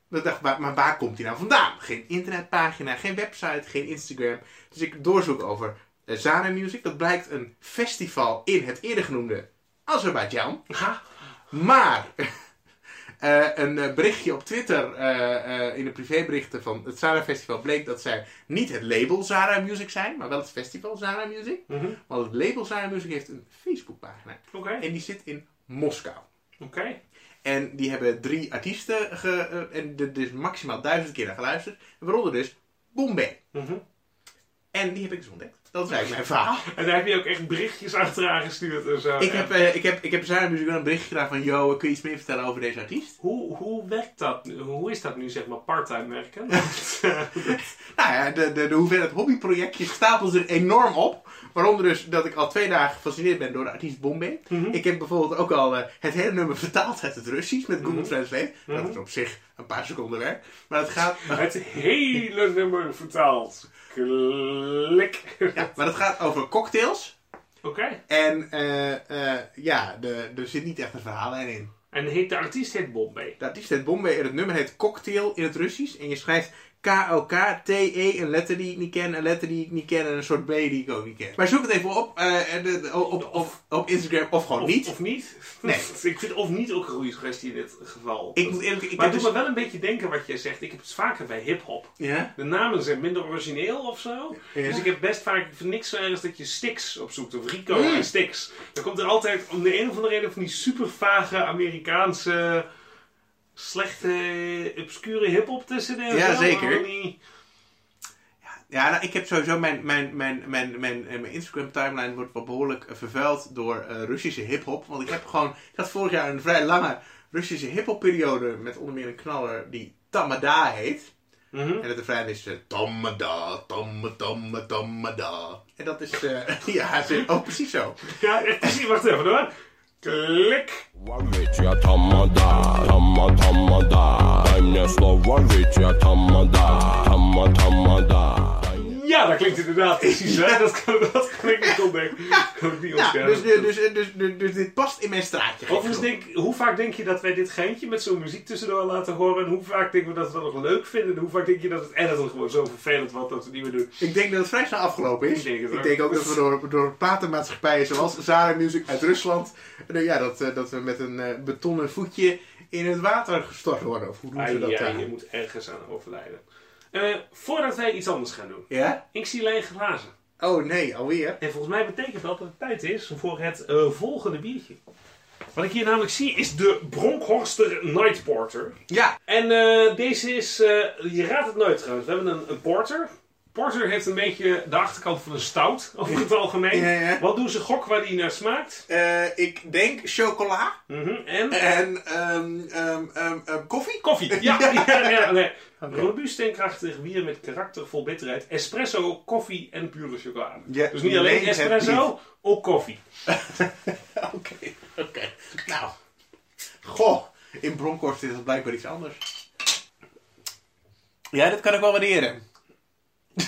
Speaker 2: Maar ik dacht, maar, maar waar komt hij nou vandaan? Geen internetpagina, geen website, geen Instagram. Dus ik doorzoek over eh, Zara Music. Dat blijkt een festival in het eerder genoemde Azerbeidzjan.
Speaker 1: Ha.
Speaker 2: Maar eh, een eh, berichtje op Twitter, eh, eh, in de privéberichten van het Zara Festival, bleek dat zij niet het label Zara Music zijn, maar wel het festival Zara Music.
Speaker 1: Mhm.
Speaker 2: Want het label Zara Music heeft een Facebookpagina.
Speaker 1: Oké.
Speaker 2: En die zit in Moskou.
Speaker 1: Oké.
Speaker 2: En die hebben drie artiesten ge, eh, en er is maximaal duizend keer naar geluisterd. Waaronder dus Bombay.
Speaker 1: Mhm.
Speaker 2: En die heb ik dus ontdekt. Dat is eigenlijk mijn verhaal.
Speaker 1: En daar heb je ook echt berichtjes achteraan gestuurd en zo.
Speaker 2: Ik
Speaker 1: En
Speaker 2: heb, eh, ik heb, ik heb Zara Music wel een berichtje gedaan van... Yo, kun je iets meer vertellen over deze artiest?
Speaker 1: hoe, hoe werkt dat? nu? Hoe is dat nu, zeg maar, part-time werken? Want, eh,
Speaker 2: Nou ja, de, de, de hoeveelheid hobbyprojectjes stapelt zich enorm op. Waaronder dus dat ik al twee dagen gefascineerd ben door de artiest Bombay.
Speaker 1: Mhm.
Speaker 2: Ik heb bijvoorbeeld ook al eh, het hele nummer vertaald uit het Russisch met Google Translate. Dat is op zich een paar seconden werk. Maar het gaat,
Speaker 1: Het hele nummer vertaald. Klik. Oké.
Speaker 2: ja, maar het gaat over cocktails. En eh, eh, ja, de, er zit niet echt een verhaallijn in.
Speaker 1: En heet, de artiest heet Bombay.
Speaker 2: De artiest heet Bombay en het nummer heet Cocktail in het Russisch. En je schrijft K-O-K-T-E, E, een letter die ik niet ken, een letter die ik niet ken en een soort B die ik ook niet ken. Maar zoek het even op, eh, en, eh, op, op, op Instagram of gewoon
Speaker 1: Of
Speaker 2: niet.
Speaker 1: Of niet? Dus
Speaker 2: Nee.
Speaker 1: ik vind of niet ook een goede suggestie in dit geval.
Speaker 2: Ik moet eerlijk- ik
Speaker 1: maar het
Speaker 2: heb
Speaker 1: doet
Speaker 2: dus-
Speaker 1: me wel een beetje denken wat jij zegt. Ik heb het vaker bij hip-hop.
Speaker 2: Ja?
Speaker 1: De namen zijn minder origineel of zo.
Speaker 2: Ja.
Speaker 1: Dus ik heb best vaak voor niks zo ergens dat je Stix opzoekt. Of Rico
Speaker 2: Mm.
Speaker 1: en Stix. Dan komt er altijd om de een of andere reden van die super vage Amerikaanse slechte, obscure hip-hop tussenin.
Speaker 2: Ja,
Speaker 1: Zo,
Speaker 2: zeker.
Speaker 1: maar die-
Speaker 2: Ja, nou, ik heb sowieso mijn, mijn, mijn, mijn, mijn, eh, mijn Instagram timeline wordt wel behoorlijk eh, vervuild door eh, Russische hip-hop. Want ik heb gewoon, ik had vorig jaar een vrij lange Russische hip-hop periode met onder meer een knaller die Tamada heet.
Speaker 1: Mhm.
Speaker 2: En het refrein is eh, Tamada, Tamada, Tamada, Tamada. En dat is, eh, ja, ze- oh precies zo.
Speaker 1: Ja, het is hier. Wacht even hoor. Klik.
Speaker 6: Ведь я тамада, тама тамада, дай мне слово, ведь я тамада, тама тамада. Дай мне
Speaker 1: Ja, dat klinkt inderdaad precies. Hè? Dat, kan, dat kan ik niet ontdekken. Dat kan ik niet
Speaker 2: Ja,
Speaker 1: ontkennen.
Speaker 2: dus, dus, dus, dus, dus, dus dit past in mijn straatje. gek
Speaker 1: Overigens,
Speaker 2: genoeg.
Speaker 1: denk, ik- hoe vaak denk je dat wij dit geintje met zo'n muziek tussendoor laten horen? En hoe vaak denken we dat we dat nog leuk vinden? En hoe vaak denk je dat het editor gewoon zo vervelend wordt dat we het niet meer doen?
Speaker 2: Ik denk dat het vrij snel afgelopen is.
Speaker 1: Ik denk het ook.
Speaker 2: ook dat we door, door platenmaatschappijen zoals Zara Music uit Rusland... nou ja, dat, eh, dat we met een eh, betonnen voetje in het water gestort worden. Of hoe doen ze
Speaker 1: Ah,
Speaker 2: dat
Speaker 1: ja,
Speaker 2: daar?
Speaker 1: je moet ergens aan overlijden. Eh, voordat wij iets anders gaan doen.
Speaker 2: Ja?
Speaker 1: Ik zie lege glazen.
Speaker 2: Oh nee, alweer.
Speaker 1: En volgens mij betekent dat dat het tijd is voor het eh, volgende biertje. Wat ik hier namelijk zie is de Bronkhorster Night Porter.
Speaker 2: Ja,
Speaker 1: En eh, deze is, eh, je raadt het nooit trouwens, we hebben een, een porter. Porter heeft een beetje de achterkant van een stout, over het algemeen.
Speaker 2: Ja, ja.
Speaker 1: Wat doen ze gok waar die naar smaakt?
Speaker 2: eh, ik denk chocola
Speaker 1: Mhm, En
Speaker 2: en ehm, ehm, ehm, ehm, koffie.
Speaker 1: koffie. Ja, ja, ja, nee. Robuust en krachtig bier met karakter vol bitterheid. Espresso, koffie en pure chocolade.
Speaker 2: Ja,
Speaker 1: dus niet alleen
Speaker 2: nee, het
Speaker 1: espresso,
Speaker 2: niet. Oh,
Speaker 1: ook koffie.
Speaker 2: Oké, oké. Nou, goh, in Bronkhorst is dat blijkbaar iets anders. Ja, dat kan ik wel waarderen.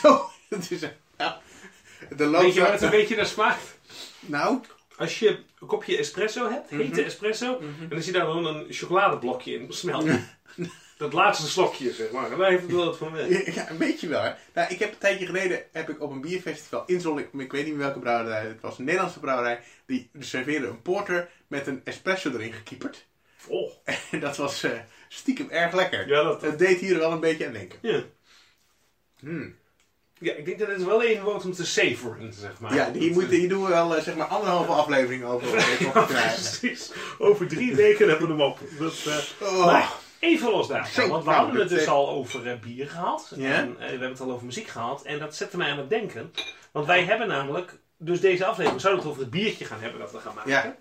Speaker 2: Zo, dat Oh, is... Ja, de loop
Speaker 1: Weet je waar het een beetje naar smaakt?
Speaker 2: Nou,
Speaker 1: Als je een kopje espresso hebt,
Speaker 2: Mhm.
Speaker 1: hete espresso, en dan zit daar dan een chocoladeblokje in smelten. dat laatste slokje, zeg maar. En Daar heeft het wel wat van weg.
Speaker 2: ja, een beetje wel. Hè. Nou, ik heb een tijdje geleden heb ik op een bierfestival in Zolling, ik weet niet welke brouwerij, het was een Nederlandse brouwerij, die serveerde een porter met een espresso erin gekieperd.
Speaker 1: Oh,
Speaker 2: En dat was eh, stiekem erg lekker. eh,
Speaker 1: Ja, dat-
Speaker 2: deed hier wel een beetje aan denken.
Speaker 1: ja. Hmm. Ja, ik denk dat het wel één wordt om te savoren, zeg maar.
Speaker 2: Ja, hier, moet, hier doen we wel eh, zeg maar anderhalve aflevering over om dit op te krijgen.
Speaker 1: Precies. Over drie weken hebben we hem op. Dat, eh,
Speaker 2: Oh.
Speaker 1: Maar even los daarvan.
Speaker 2: Zo,
Speaker 1: Want we
Speaker 2: nou,
Speaker 1: hadden het
Speaker 2: dit,
Speaker 1: dus
Speaker 2: eh,
Speaker 1: al over eh, bier gehad.
Speaker 2: Ja.
Speaker 1: En, eh, we hebben het al over muziek gehad. En dat zette mij aan het denken. Want wij hebben namelijk... Dus deze aflevering zouden we het over het biertje gaan hebben dat we gaan maken.
Speaker 2: Ja.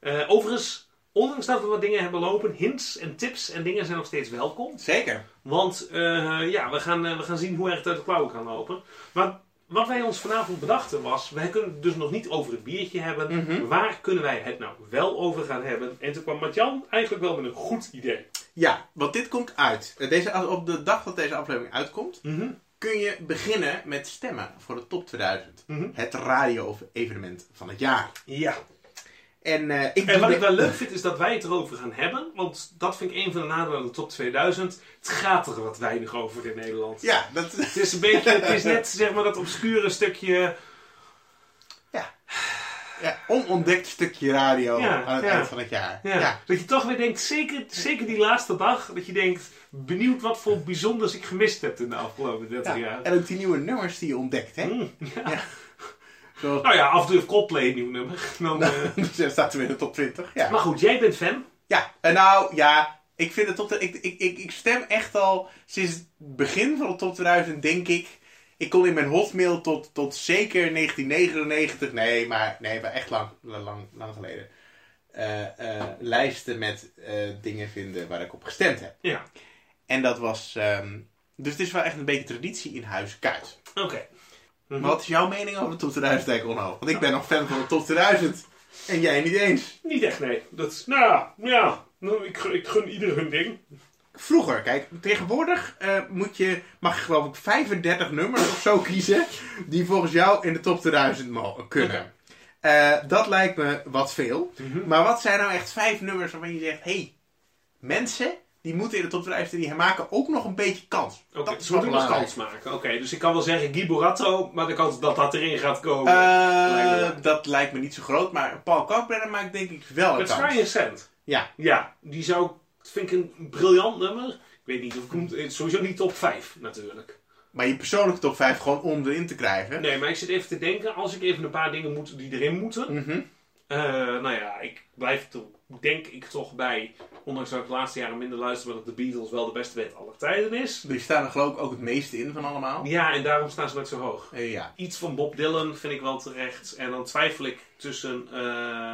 Speaker 1: Eh, overigens, ondanks dat we wat dingen hebben lopen, hints en tips en dingen zijn nog steeds welkom.
Speaker 2: Zeker.
Speaker 1: Want eh, ja, we gaan, eh, we gaan zien hoe erg het uit de klauwen kan lopen. Maar wat wij ons vanavond bedachten was, wij kunnen het dus nog niet over het biertje hebben. Waar kunnen wij het nou wel over gaan hebben? En toen kwam Matjan eigenlijk wel met een goed idee.
Speaker 2: Ja, want dit komt uit. Eh, Deze, als- op de dag dat deze aflevering uitkomt, kun je beginnen met stemmen voor de top 2000.
Speaker 1: Mhm.
Speaker 2: Het radio-evenement van het jaar.
Speaker 1: Ja.
Speaker 2: En, eh,
Speaker 1: En
Speaker 2: ik doe
Speaker 1: wat
Speaker 2: de-
Speaker 1: ik wel leuk vind is dat wij het erover gaan hebben. Want dat vind ik een van de nadelen aan de top 2000. Het gaat er wat weinig over in Nederland.
Speaker 2: Ja, dat...
Speaker 1: Het is een beetje, het is net zeg maar dat obscure stukje.
Speaker 2: Ja. ja onontdekt stukje radio
Speaker 1: Ja,
Speaker 2: aan het
Speaker 1: ja.
Speaker 2: eind van het jaar.
Speaker 1: Ja,
Speaker 2: Ja.
Speaker 1: Dat je toch weer denkt, zeker, zeker die laatste dag, dat je denkt, benieuwd wat voor bijzonders ik gemist heb in de afgelopen 30
Speaker 2: Ja.
Speaker 1: jaar.
Speaker 2: En ook die nieuwe nummers die je ontdekt, hè?
Speaker 1: Mm,
Speaker 2: Ja. Zoals...
Speaker 1: Nou ja, af en toe Coldplay een nieuw nummer. Dan, eh,
Speaker 2: Ze Dus staat weer in de top 20. Ja.
Speaker 1: Maar goed, jij bent fan.
Speaker 2: Ja, eh, nou ja, ik vind het top. Ik, ik, ik, ik stem echt al sinds het begin van de top 2000, denk ik. Ik kon in mijn hotmail tot, tot zeker 1999, nee, maar, nee, maar echt lang, lang, lang geleden. eh, eh, lijsten met eh, dingen vinden waar ik op gestemd heb.
Speaker 1: Ja,
Speaker 2: En dat was. ehm, dus het is wel echt een beetje traditie in huis Kuit.
Speaker 1: oké.
Speaker 2: Maar wat is jouw mening over de top 2000, Dijk Onno? Want ik ben nog fan van de top 2000. En jij niet eens.
Speaker 1: Niet echt, nee. Dat is, nou ja, ja. Nou, ik, gun- ik gun ieder hun ding.
Speaker 2: Vroeger, kijk, tegenwoordig eh, moet je, mag je geloof ik 35 nummers of zo kiezen. Die volgens jou in de top 2000 mo- kunnen. Eh, dat
Speaker 1: Mhm.
Speaker 2: lijkt me wat veel. Maar wat zijn nou echt vijf nummers waarvan je zegt: hé, hey, mensen, die moeten in de top 15 die maken ook nog een beetje kans.
Speaker 1: Oké, dus
Speaker 2: dat is
Speaker 1: ze
Speaker 2: wel
Speaker 1: moeten nog
Speaker 2: belangrijk.
Speaker 1: kans maken. Oké, dus ik kan wel zeggen Giboratto, maar de kans dat dat erin gaat komen...
Speaker 2: Eh,
Speaker 1: lijkt me-
Speaker 2: dat lijkt me niet zo groot, maar Paul Kalkbrenner maakt denk ik wel een
Speaker 1: Met
Speaker 2: kans.
Speaker 1: Sky Cent.
Speaker 2: Ja.
Speaker 1: Ja, die zou... dat vind ik een briljant nummer. Ik weet niet of ik hem... Sowieso niet top 5, natuurlijk.
Speaker 2: Maar je persoonlijke top 5 gewoon om erin te krijgen.
Speaker 1: Nee, maar ik zit even te denken, als ik even een paar dingen moet die erin moeten.
Speaker 2: Mhm.
Speaker 1: Eh, nou ja, ik blijf toch, denk ik toch bij, ondanks dat ik de laatste jaren minder luister, maar dat de Beatles wel de beste band aller tijden is.
Speaker 2: Die staan er geloof ik ook het meeste in van allemaal.
Speaker 1: Ja, en daarom staan ze net zo hoog.
Speaker 2: Eh, ja.
Speaker 1: Iets van Bob Dylan vind ik wel terecht. En dan twijfel ik tussen.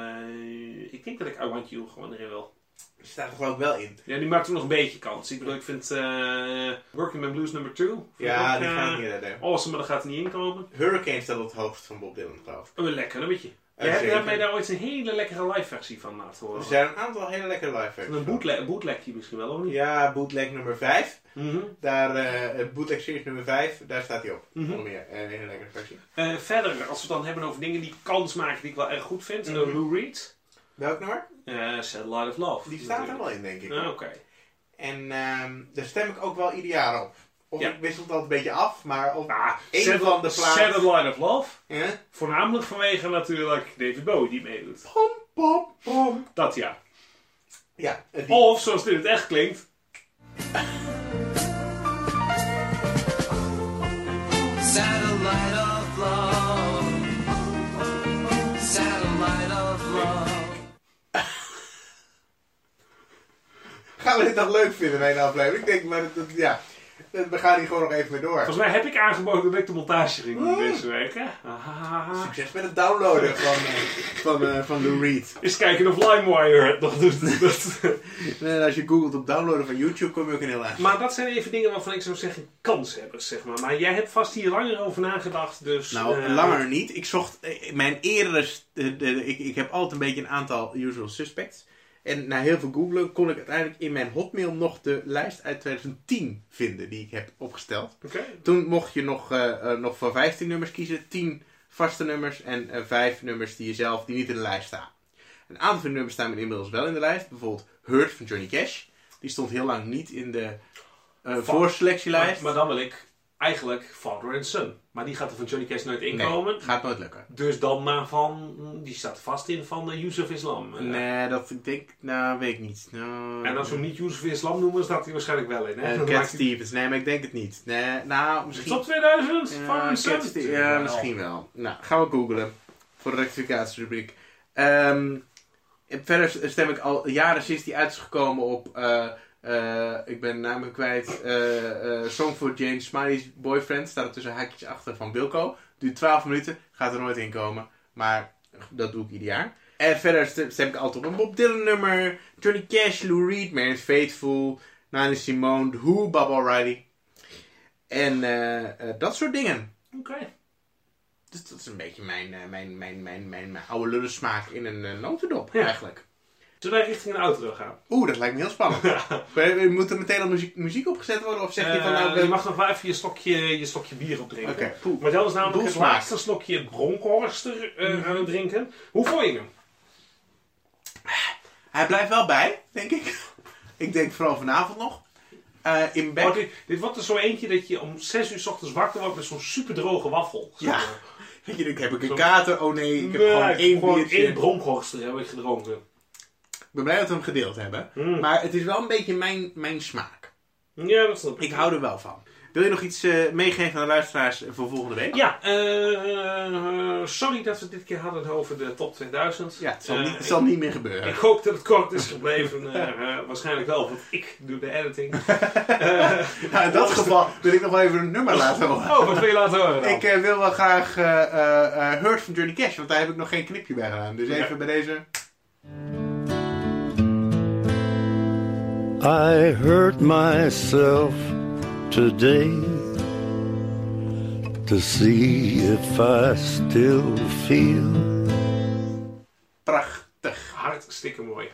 Speaker 1: eh, ik denk dat ik I Want You gewoon erin wil.
Speaker 2: Die staan er geloof ik wel in.
Speaker 1: Ja, die maakt hem nog een beetje kans. Ik bedoel, ik vind eh, Working Man Blues nummer 2.
Speaker 2: Ja,
Speaker 1: eh,
Speaker 2: die gaan niet redden.
Speaker 1: Awesome, maar dat gaat er niet in komen.
Speaker 2: Hurricane staat op het hoogst van Bob Dylan geloof ik.
Speaker 1: Oh, een lekker nummertje.
Speaker 2: Eh,
Speaker 1: Jij hebt- jij
Speaker 2: zeker.
Speaker 1: hebt mij daar ooit een hele lekkere live versie van laten
Speaker 2: Er
Speaker 1: horen.
Speaker 2: zijn een aantal hele lekkere live versies.
Speaker 1: Oh. Een bootleg, bootlegje misschien wel, of niet?
Speaker 2: Ja, bootleg nummer 5.
Speaker 1: Mhm.
Speaker 2: Daar, eh, bootleg series nummer 5, daar staat hij op.
Speaker 1: Mhm.
Speaker 2: Onder meer. Eh, Een hele lekkere versie.
Speaker 1: Eh, verder, als we het dan hebben over dingen die kans maken die ik wel erg goed vind. eh,
Speaker 2: Mhm.
Speaker 1: Lou Reed,
Speaker 2: Welk nummer?
Speaker 1: eh Satellite of Love.
Speaker 2: Die staat er
Speaker 1: natuurlijk.
Speaker 2: wel in, denk ik.
Speaker 1: Ah, Oké.
Speaker 2: En ehm, daar stem ik ook wel ieder jaar op. Of
Speaker 1: Ja.
Speaker 2: ik wissel dat een beetje af, maar op
Speaker 1: Ah,
Speaker 2: één
Speaker 1: Satel-
Speaker 2: van de plaats-
Speaker 1: Satellite of Love.
Speaker 2: Eh?
Speaker 1: Voornamelijk vanwege natuurlijk David Bowie die meedoet.
Speaker 2: Pom, pom, pom.
Speaker 1: Dat ja.
Speaker 2: Ja, het lied.
Speaker 1: Of zoals dit het echt klinkt.
Speaker 7: Satellite of love. Satellite of love.
Speaker 2: Gaan we dit nog leuk vinden in één aflevering? Ik denk, maar dat, dat- ja, dat- we gaan hier gewoon nog even mee door.
Speaker 1: Volgens mij heb ik aangeboden dat ik de montage ging
Speaker 2: Mm.
Speaker 1: doen deze week. Hè? Ahaha.
Speaker 2: Succes met het downloaden van, eh, van, eh, van Lou Reed.
Speaker 1: Eens kijken of LimeWire het nog doet. Dat-
Speaker 2: En Eh, als je googelt op downloaden van YouTube, kom je ook een heel eind.
Speaker 1: Maar dat zijn even dingen waarvan ik zou zeggen kanshebbers, zeg maar. Maar jij hebt vast hier langer over nagedacht, dus...
Speaker 2: Nou,
Speaker 1: eh,
Speaker 2: langer niet. Ik zocht eh, mijn eerdere. st- eh, de- de- ik, ik heb altijd een beetje een aantal usual suspects. En na heel veel googlen kon ik uiteindelijk in mijn Hotmail nog de lijst uit 2010 vinden die ik heb opgesteld.
Speaker 1: Oké.
Speaker 2: Toen mocht je nog, eh, eh, nog voor 15 nummers kiezen. 10 vaste nummers en eh 5 nummers die, je zelf, die niet in de lijst staan. Een aantal van die nummers staan inmiddels wel in de lijst. Bijvoorbeeld Hurt van Johnny Cash. Die stond heel lang niet in de eh,
Speaker 1: Maar,
Speaker 2: voorselectielijst.
Speaker 1: maar dan wil ik eigenlijk Father and Son. Maar die gaat er van Johnny Cash nooit
Speaker 2: Nee,
Speaker 1: inkomen.
Speaker 2: gaat nooit lukken.
Speaker 1: Dus dan maar van... Die staat vast in van eh, Yusuf Islam. Eh,
Speaker 2: Nee, dat ik denk nou, weet ik niet. Nou,
Speaker 1: En als we hem niet Yusuf Islam noemen, staat hij waarschijnlijk wel in. Hè?
Speaker 2: eh,
Speaker 1: Dan
Speaker 2: Cat
Speaker 1: maakt hij-
Speaker 2: Stevens, nee, maar ik denk het niet. Nee, nou, misschien.
Speaker 1: Top 2000,
Speaker 2: Ja,
Speaker 1: Father and
Speaker 2: Cat
Speaker 1: Son.
Speaker 2: Stevens. Ja, misschien wel. Nou, gaan we googlen voor de rectificatierubriek. Ehm, en verder stem ik al jaren sinds die uit is gekomen op. eh, eh, ik ben namelijk kwijt. eh, eh, Song for James Smiley's Boyfriend staat er tussen haakjes achter van Wilco. Duurt 12 minuten, gaat er nooit in komen. Maar dat doe ik ieder jaar. En verder stem, stem ik altijd op een Bob Dylan nummer. Johnny Cash, Lou Reed, Man's Faithful, Nina Simone, The Who, Bob O'Reilly. En eh, eh, dat soort dingen.
Speaker 1: Oké.
Speaker 2: Dus dat is een beetje mijn, eh, mijn, mijn, mijn, mijn, mijn oude lullensmaak in een eh, notendop
Speaker 1: Ja.
Speaker 2: eigenlijk.
Speaker 1: Zullen wij richting een outro gaan?
Speaker 2: Oeh, dat lijkt me heel spannend. Maar, eh, Moet er meteen al muziek, muziek opgezet worden? Of zeg je van
Speaker 1: Eh,
Speaker 2: nou...
Speaker 1: je
Speaker 2: eh,
Speaker 1: mag nog wel even je stokje, je stokje bier opdrinken.
Speaker 2: Oké, poeh.
Speaker 1: Maar dat is namelijk het
Speaker 2: Doelsmaak. Mhm.
Speaker 1: laatste slokje Bronkhorster eh, aan het drinken. Hoe vond je hem?
Speaker 2: Hij blijft wel bij, denk ik. ik denk vooral vanavond nog. Eh, in bed.
Speaker 1: Oh, dit, dit wordt er zo eentje dat je om 6 uur s ochtends wakker wordt met zo'n super droge waffel.
Speaker 2: Ja. Weet je, ik heb ik een kater? Oh nee, ik heb
Speaker 1: Nee,
Speaker 2: gewoon één biertje.
Speaker 1: één Bronkhorster heb ik gedronken.
Speaker 2: Ik ben blij dat we hem gedeeld hebben.
Speaker 1: Mm.
Speaker 2: Maar het is wel een beetje mijn, mijn smaak.
Speaker 1: Ja, dat snap
Speaker 2: Ik hou er wel van. Wil je nog iets eh, meegeven aan de luisteraars voor volgende week?
Speaker 1: Ja, eh, eh, sorry dat we dit keer hadden over de top 2000.
Speaker 2: Ja, het zal,
Speaker 1: Eh,
Speaker 2: niet, het zal niet meer gebeuren.
Speaker 1: Ik hoop dat het kort is gebleven. eh, eh, waarschijnlijk wel, want ik doe de editing. Eh,
Speaker 2: Nou, in dat geval wil ik nog wel even een nummer laten horen.
Speaker 1: oh, wat wil je laten horen dan?
Speaker 2: Ik eh, wil wel graag eh, eh, eh, Hurt van Johnny Cash, want daar heb ik nog geen knipje bij gedaan. Dus even
Speaker 1: Ja.
Speaker 2: bij deze.
Speaker 8: I hurt myself today to see if I still feel.
Speaker 2: Prachtig.
Speaker 1: Hartstikke mooi.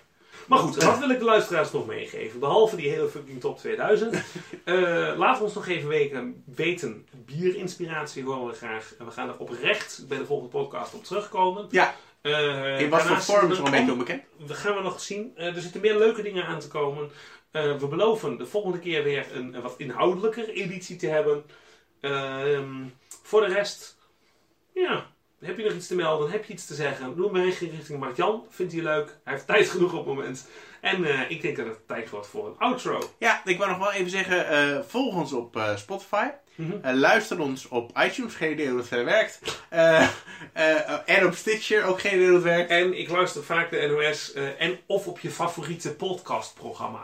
Speaker 1: Maar goed, wat wil ik de luisteraars nog meegeven? Behalve die hele fucking top 2000. Eh laat ons nog even weten, weten. Bierinspiratie horen we graag. En we gaan er oprecht bij de volgende podcast op terugkomen.
Speaker 2: Ja,
Speaker 1: Eh,
Speaker 2: In wat voor
Speaker 1: daarnaast-
Speaker 2: vorm is nog een
Speaker 1: dan
Speaker 2: beetje
Speaker 1: kom-
Speaker 2: onbekend?
Speaker 1: We gaan we nog zien. Eh, er zitten meer leuke dingen aan te komen. Eh, we beloven de volgende keer weer een, eh, wat inhoudelijker editie te hebben. Ehm, voor de rest, ja, heb je nog iets te melden? Heb je iets te zeggen? Doe een berichtje richting Martjan. Vindt hij leuk? Hij heeft tijd genoeg op het moment. En eh, ik denk dat het tijd wordt voor een outro.
Speaker 2: Ja, ik wou nog wel even zeggen, eh volg ons op eh, Spotify.
Speaker 1: Mhm.
Speaker 2: Eh, luister ons op iTunes, geen idee hoe dat verder werkt. Eh, eh, en op Stitcher, ook geen idee hoe dat werkt.
Speaker 1: En ik luister vaak de NOS eh, en of op je favoriete podcastprogramma.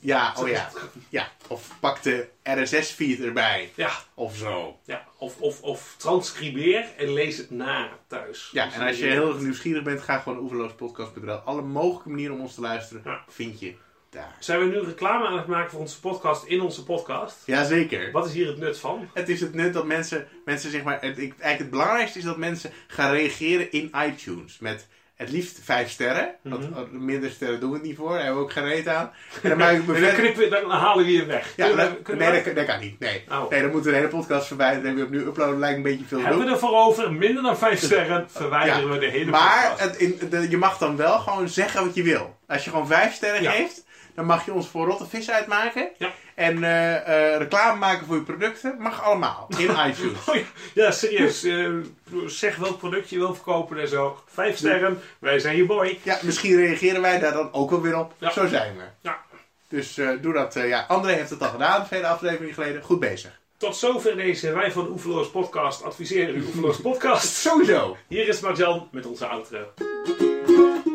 Speaker 2: Ja, oh ja. ja. Of pak de RSS-feed erbij.
Speaker 1: Ja,
Speaker 2: Of zo.
Speaker 1: ja. Of, of, of transcribeer en lees het na thuis.
Speaker 2: Ja,
Speaker 1: Dus
Speaker 2: en als je heel erg nieuwsgierig bent, ga gewoon naar oeverloospodcast.nl. Alle mogelijke manieren om ons te luisteren
Speaker 1: Ja.
Speaker 2: vind je daar.
Speaker 1: Zijn we nu reclame aan het maken voor onze podcast in onze podcast?
Speaker 2: Jazeker.
Speaker 1: Wat is hier het nut van?
Speaker 2: Het is het nut dat mensen, mensen zeg maar, het, ik, eigenlijk het belangrijkste is dat mensen gaan reageren in iTunes. Met het liefst vijf sterren.
Speaker 1: Mhm.
Speaker 2: Want eh, minder sterren doen we het niet voor, daar hebben we ook geen reet aan. En dan maak ik me
Speaker 1: En dan,
Speaker 2: verder...
Speaker 1: knippen, dan halen we je weg.
Speaker 2: Ja,
Speaker 1: Kunnen we-
Speaker 2: dat-
Speaker 1: kunnen
Speaker 2: nee,
Speaker 1: we-
Speaker 2: dat, kan- dat kan niet. Nee.
Speaker 1: Oh.
Speaker 2: nee, dan moeten we de hele podcast verwijderen en weer opnieuw uploaden. Lijkt een beetje veel te doen.
Speaker 1: hebben we ervoor over, minder dan vijf sterren, verwijderen we de hele
Speaker 2: Maar
Speaker 1: podcast.
Speaker 2: het, in, de- je mag dan wel gewoon zeggen wat je wil. Als je gewoon vijf sterren
Speaker 1: Ja.
Speaker 2: geeft, dan mag je ons voor rotte vis uitmaken.
Speaker 1: Ja.
Speaker 2: En eh, eh, reclame maken voor je producten. Mag allemaal. In iTunes.
Speaker 1: Oh ja, ja, serieus. eh, zeg welk product je wil verkopen en zo. Vijf sterren, wij zijn je boy.
Speaker 2: Ja, misschien reageren wij daar dan ook wel weer op.
Speaker 1: Ja.
Speaker 2: Zo zijn we.
Speaker 1: Ja.
Speaker 2: Dus eh, doe dat. eh, ja, André heeft het al gedaan, vele afleveringen geleden. Goed bezig.
Speaker 1: Tot zover deze Wij van Oefeloos Podcast adviseren u Oefeloos Podcast.
Speaker 2: Sowieso.
Speaker 1: Hier is Marjan met onze outro.
Speaker 2: Oeverloos